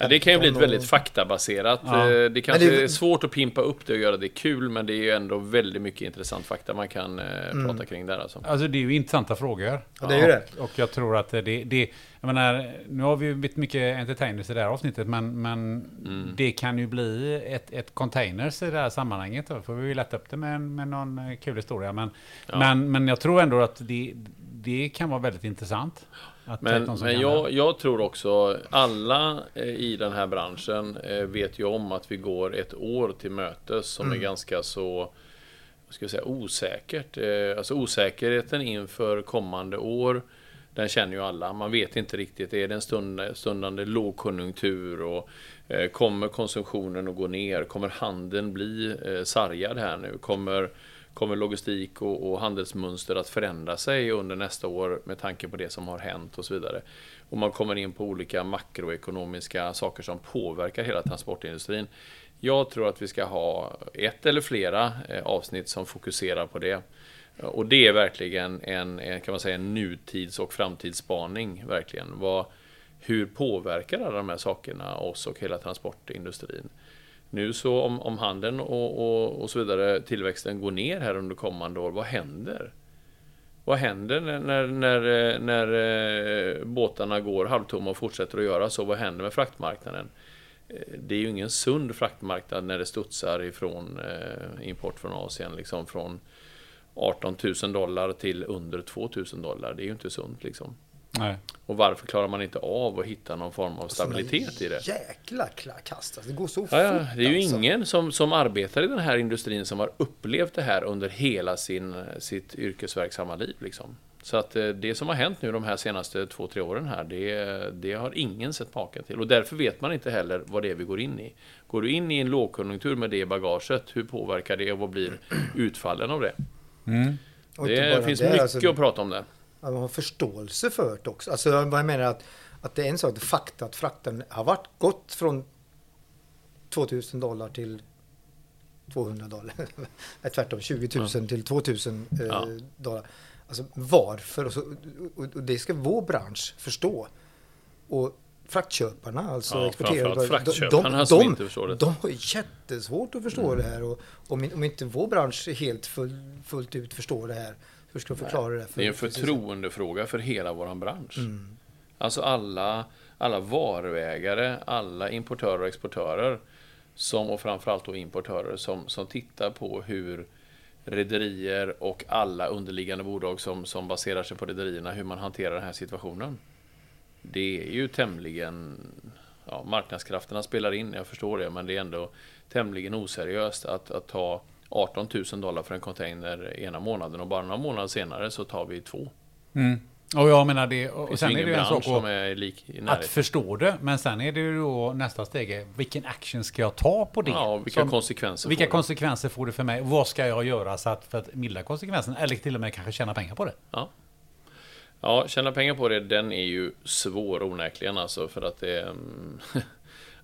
Speaker 2: Ja, det kan ju bli ett
Speaker 3: 15 och-
Speaker 2: väldigt faktabaserat.
Speaker 1: Ja.
Speaker 2: eh, Det kanske
Speaker 3: Men det-
Speaker 2: är svårt att pimpa upp det och göra det kul, men det är ju ändå väldigt mycket intressant fakta man kan eh,
Speaker 3: Mm.
Speaker 2: prata kring där. Alltså.
Speaker 1: Alltså det är ju intressanta frågor.
Speaker 3: Ja, det är ju det.
Speaker 1: Och, och jag tror att det, det jag menar, nu har vi ju blivit mycket entertainers i det här avsnittet, men, men
Speaker 2: Mm.
Speaker 1: det kan ju bli ett, ett containers i det här sammanhanget. Då får vi ju lätta upp det med, en- med någon eh, kul historia. Men, men, men jag tror ändå att det, det kan vara väldigt intressant. Att
Speaker 2: Men,
Speaker 1: någon som
Speaker 2: men
Speaker 1: kan
Speaker 2: jag, jag tror också, alla eh, i den här branschen eh, vet ju om att vi går ett år till mötes som är ganska så vad ska jag säga, osäkert. Eh, Alltså osäkerheten inför kommande år, den känner ju alla. Man vet inte riktigt, är det en stund, stundande lågkonjunktur? Och eh, kommer konsumtionen att gå ner? Kommer handeln bli eh, sargad här nu? Kommer, kommer logistik och, och handelsmönster att förändra sig under nästa år med tanke på det som har hänt och så vidare? Och man kommer in på olika makroekonomiska saker som påverkar hela transportindustrin. Jag tror att vi ska ha ett eller flera eh, avsnitt som fokuserar på det. Och det är verkligen en, en, kan man säga, en nutids och framtidsspaning. Verkligen. Vad, hur påverkar alla de här sakerna oss och hela transportindustrin? Nu så om, om handeln och, och, och så vidare, tillväxten går ner här under kommande år, vad händer? Vad händer när, när, när, eh, när eh, båtarna går halvtomma och fortsätter att göra så? Vad händer med fraktmarknaden? Eh, Det är ju ingen sund fraktmarknad när det studsar ifrån eh, import från Asien, liksom från 18 000 dollar till under 2 000 dollar. Det är ju inte sunt liksom.
Speaker 1: Nej.
Speaker 2: Och varför klarar man inte av att hitta någon form
Speaker 3: Alltså,
Speaker 2: av stabilitet i det?
Speaker 3: Jäkla kla- kast, alltså, det går så
Speaker 2: Ja, ja,
Speaker 3: fort
Speaker 2: det är ju
Speaker 3: alltså.
Speaker 2: ingen som, som arbetar i den här industrin som har upplevt det här under hela sin, sitt yrkesverksamma liv. Liksom. Så att eh, det som har hänt nu de här senaste två, tre åren här, det, det har ingen sett maken till. Och därför vet man inte heller vad det är vi går in i. Går du in i en lågkonjunktur med det bagaget, hur påverkar det och vad blir utfallen av det?
Speaker 3: Och inte
Speaker 2: Det
Speaker 3: bara
Speaker 2: finns
Speaker 3: det,
Speaker 2: mycket
Speaker 3: alltså,
Speaker 2: att prata om där.
Speaker 3: att man har förståelse för det också. Alltså vad jag menar är att, att det är en sak, det är fakta att frakten har varit gått från 2000 dollar till 200 dollar. Nej, tvärtom, 20 000 till 2000 eh,
Speaker 2: Ja.
Speaker 3: dollar. Alltså varför? Och, så, och, och det ska vår bransch förstå. Och fraktköparna, alltså
Speaker 2: Ja,
Speaker 3: exporterare,
Speaker 2: framförallt
Speaker 3: de-
Speaker 2: fraktköparna
Speaker 3: de,
Speaker 2: som
Speaker 3: de,
Speaker 2: inte förstår det. Mm.
Speaker 3: De har ju jättesvårt att förstå det här. Och om, in- om inte vår bransch helt full, fullt ut förstår det här, hur ska de förklara det? här
Speaker 2: Det är en
Speaker 3: för-
Speaker 2: förtroendefråga för hela vår bransch. Alltså alla, alla varuägare, alla importörer och exportörer, som, och framförallt då importörer, som, som tittar på hur rederier och alla underliggande bolag som, som baserar sig på rederierna, hur man hanterar den här situationen. Det är ju tämligen... Ja, marknadskrafterna spelar in, jag förstår det, men det är ändå tämligen oseriöst att, att ta 18 000 dollar för en container ena månaden och bara några månader senare så tar vi två.
Speaker 1: Mm. Och jag menar det, och
Speaker 2: Det
Speaker 1: och
Speaker 2: finns
Speaker 1: sen
Speaker 2: ju
Speaker 1: är det
Speaker 2: ingen
Speaker 1: ju en sak
Speaker 2: bransch som
Speaker 1: att,
Speaker 2: är lik i
Speaker 1: att
Speaker 2: närheten.
Speaker 1: förstå det, men sen är det ju då nästa steg, är, vilken action ska jag ta på det?
Speaker 2: Ja, och vilka
Speaker 1: Som-
Speaker 2: konsekvenser
Speaker 1: vilka
Speaker 2: får det?
Speaker 1: konsekvenser får det för mig? Vad ska jag göra så att, för att mildra konsekvenserna? Eller till och med kanske tjäna pengar på det?
Speaker 2: Ja. ja, tjäna pengar på det, den är ju svår onekligen alltså för att det... mm,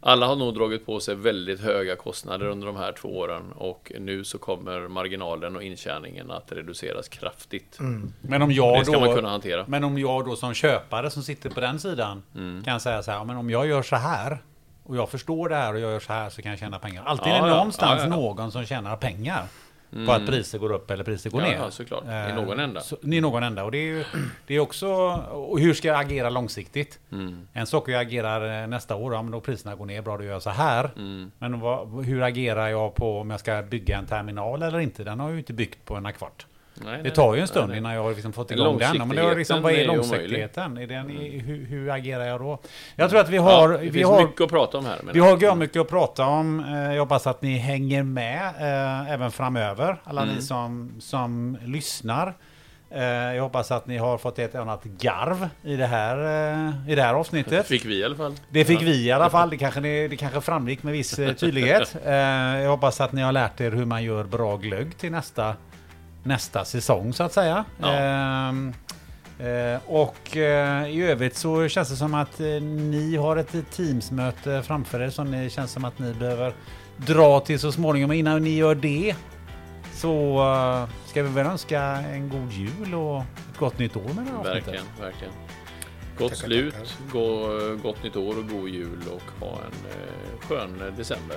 Speaker 2: Alla har nog dragit på sig väldigt höga kostnader under de här två åren och nu så kommer marginalen och intjäningen att reduceras kraftigt.
Speaker 1: Men om jag
Speaker 2: Det ska
Speaker 1: Mm. då,
Speaker 2: man kunna hantera.
Speaker 1: Men om jag då som köpare som sitter på den sidan
Speaker 2: Mm.
Speaker 1: kan säga så här, "Ja, men om jag gör så här och jag förstår det här och jag gör så här så kan jag tjäna pengar. Alltid
Speaker 2: Ja,
Speaker 1: är det
Speaker 2: ja.
Speaker 1: någonstans
Speaker 2: Ja, ja, ja.
Speaker 1: någon som tjänar pengar på att priser går upp eller priser går
Speaker 2: Ja,
Speaker 1: ner.
Speaker 2: ja, såklart. I
Speaker 1: Eh,
Speaker 2: någon ända.
Speaker 1: Så, I någon ända. Och det är ju det är också, och hur ska jag agera långsiktigt?
Speaker 2: Mm.
Speaker 1: En sak är jag agerar eh, nästa år, ja, men då priserna går ner, bra då gör jag så här.
Speaker 2: Mm.
Speaker 1: Men vad, hur agerar jag på om jag ska bygga en terminal eller inte? Den har jag ju inte byggt på en kvart.
Speaker 2: Nej,
Speaker 1: Det
Speaker 2: nej,
Speaker 1: tar ju
Speaker 2: nej,
Speaker 1: en stund
Speaker 2: nej.
Speaker 1: innan jag har liksom fått
Speaker 2: Men
Speaker 1: igång den. Men det är liksom, vad är
Speaker 2: långsiktigheten är ju Mm.
Speaker 1: långsiktigheten? Är den, i- hur, hur agerar jag då? Jag tror att vi har...
Speaker 2: ja, det
Speaker 1: vi
Speaker 2: finns
Speaker 1: har
Speaker 2: mycket att prata om här. menar
Speaker 1: vi
Speaker 2: jag.
Speaker 1: har gör mycket att prata om. Eh, Jag hoppas att ni hänger med eh, även framöver. Alla
Speaker 2: Mm.
Speaker 1: ni som, som lyssnar. Eh, Jag hoppas att ni har fått ett annat garv i det här, eh, i det här avsnittet.
Speaker 2: Fick vi i alla fall.
Speaker 1: Det fick
Speaker 2: Ja.
Speaker 1: vi i alla fall. Det kanske, ni, det kanske framgick med viss eh, tydlighet. Eh, jag hoppas att ni har lärt er hur man gör bra glögg till nästa, nästa säsong så att säga.
Speaker 2: Ja.
Speaker 1: Ehm, eh, och eh, i övrigt så känns det som att eh, ni har ett eh, Teamsmöte framför er som ni känns som att ni behöver dra till så småningom. Men innan ni gör det så eh, ska vi väl önska en god jul och ett gott nytt år med det här avsnittet.
Speaker 2: Verkligen, verkligen. Gott
Speaker 3: Tackar,
Speaker 2: slut,
Speaker 3: tackar.
Speaker 2: Gå, gott nytt år och god jul och ha en eh, skön december.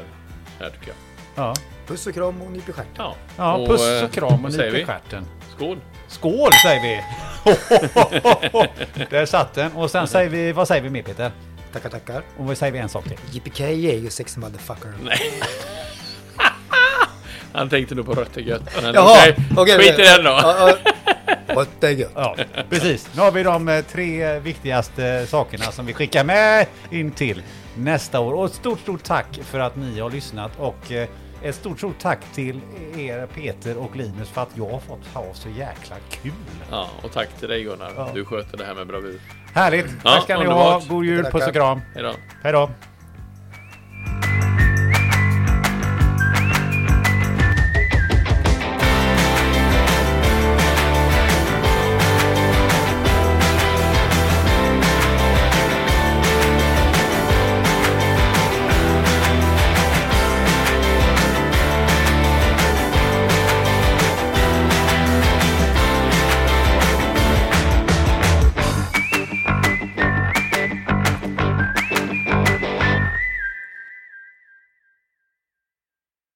Speaker 2: Här tycker jag.
Speaker 1: Ja.
Speaker 3: Puss och kram och nyp i stjärten.
Speaker 2: Ja,
Speaker 1: Ja, puss
Speaker 2: eh,
Speaker 1: och kram och
Speaker 2: vad säger
Speaker 1: nyp i
Speaker 2: vi?
Speaker 1: stjärten.
Speaker 2: Skål!
Speaker 1: Skål säger vi! Där satt den. Och sen säger vi, vad säger vi mer Peter?
Speaker 3: Tackar, tackar.
Speaker 1: Och vad säger vi en sak till?
Speaker 3: Yippee you sexy motherfucker.
Speaker 2: Han tänkte nog på rött är gött. Men
Speaker 3: Jaha,
Speaker 2: okej, skit i den då.
Speaker 3: Ja, ja. What the gött.
Speaker 1: Ja, precis. Nu har vi de eh, tre viktigaste sakerna som vi skickar med in till nästa år. Och ett stort, stort tack för att ni har lyssnat och eh, ett stort, stort tack till er Peter och Linus för att jag har fått ha så jäkla kul.
Speaker 2: Ja, och tack till dig Gunnar.
Speaker 1: Ja.
Speaker 2: Du sköter det här med bravur.
Speaker 1: Härligt!
Speaker 2: Ja,
Speaker 1: Tack ska ni ha.
Speaker 2: underbart.
Speaker 1: God jul,
Speaker 3: Tackar.
Speaker 1: puss och kram.
Speaker 2: Hejdå!
Speaker 1: Hej då!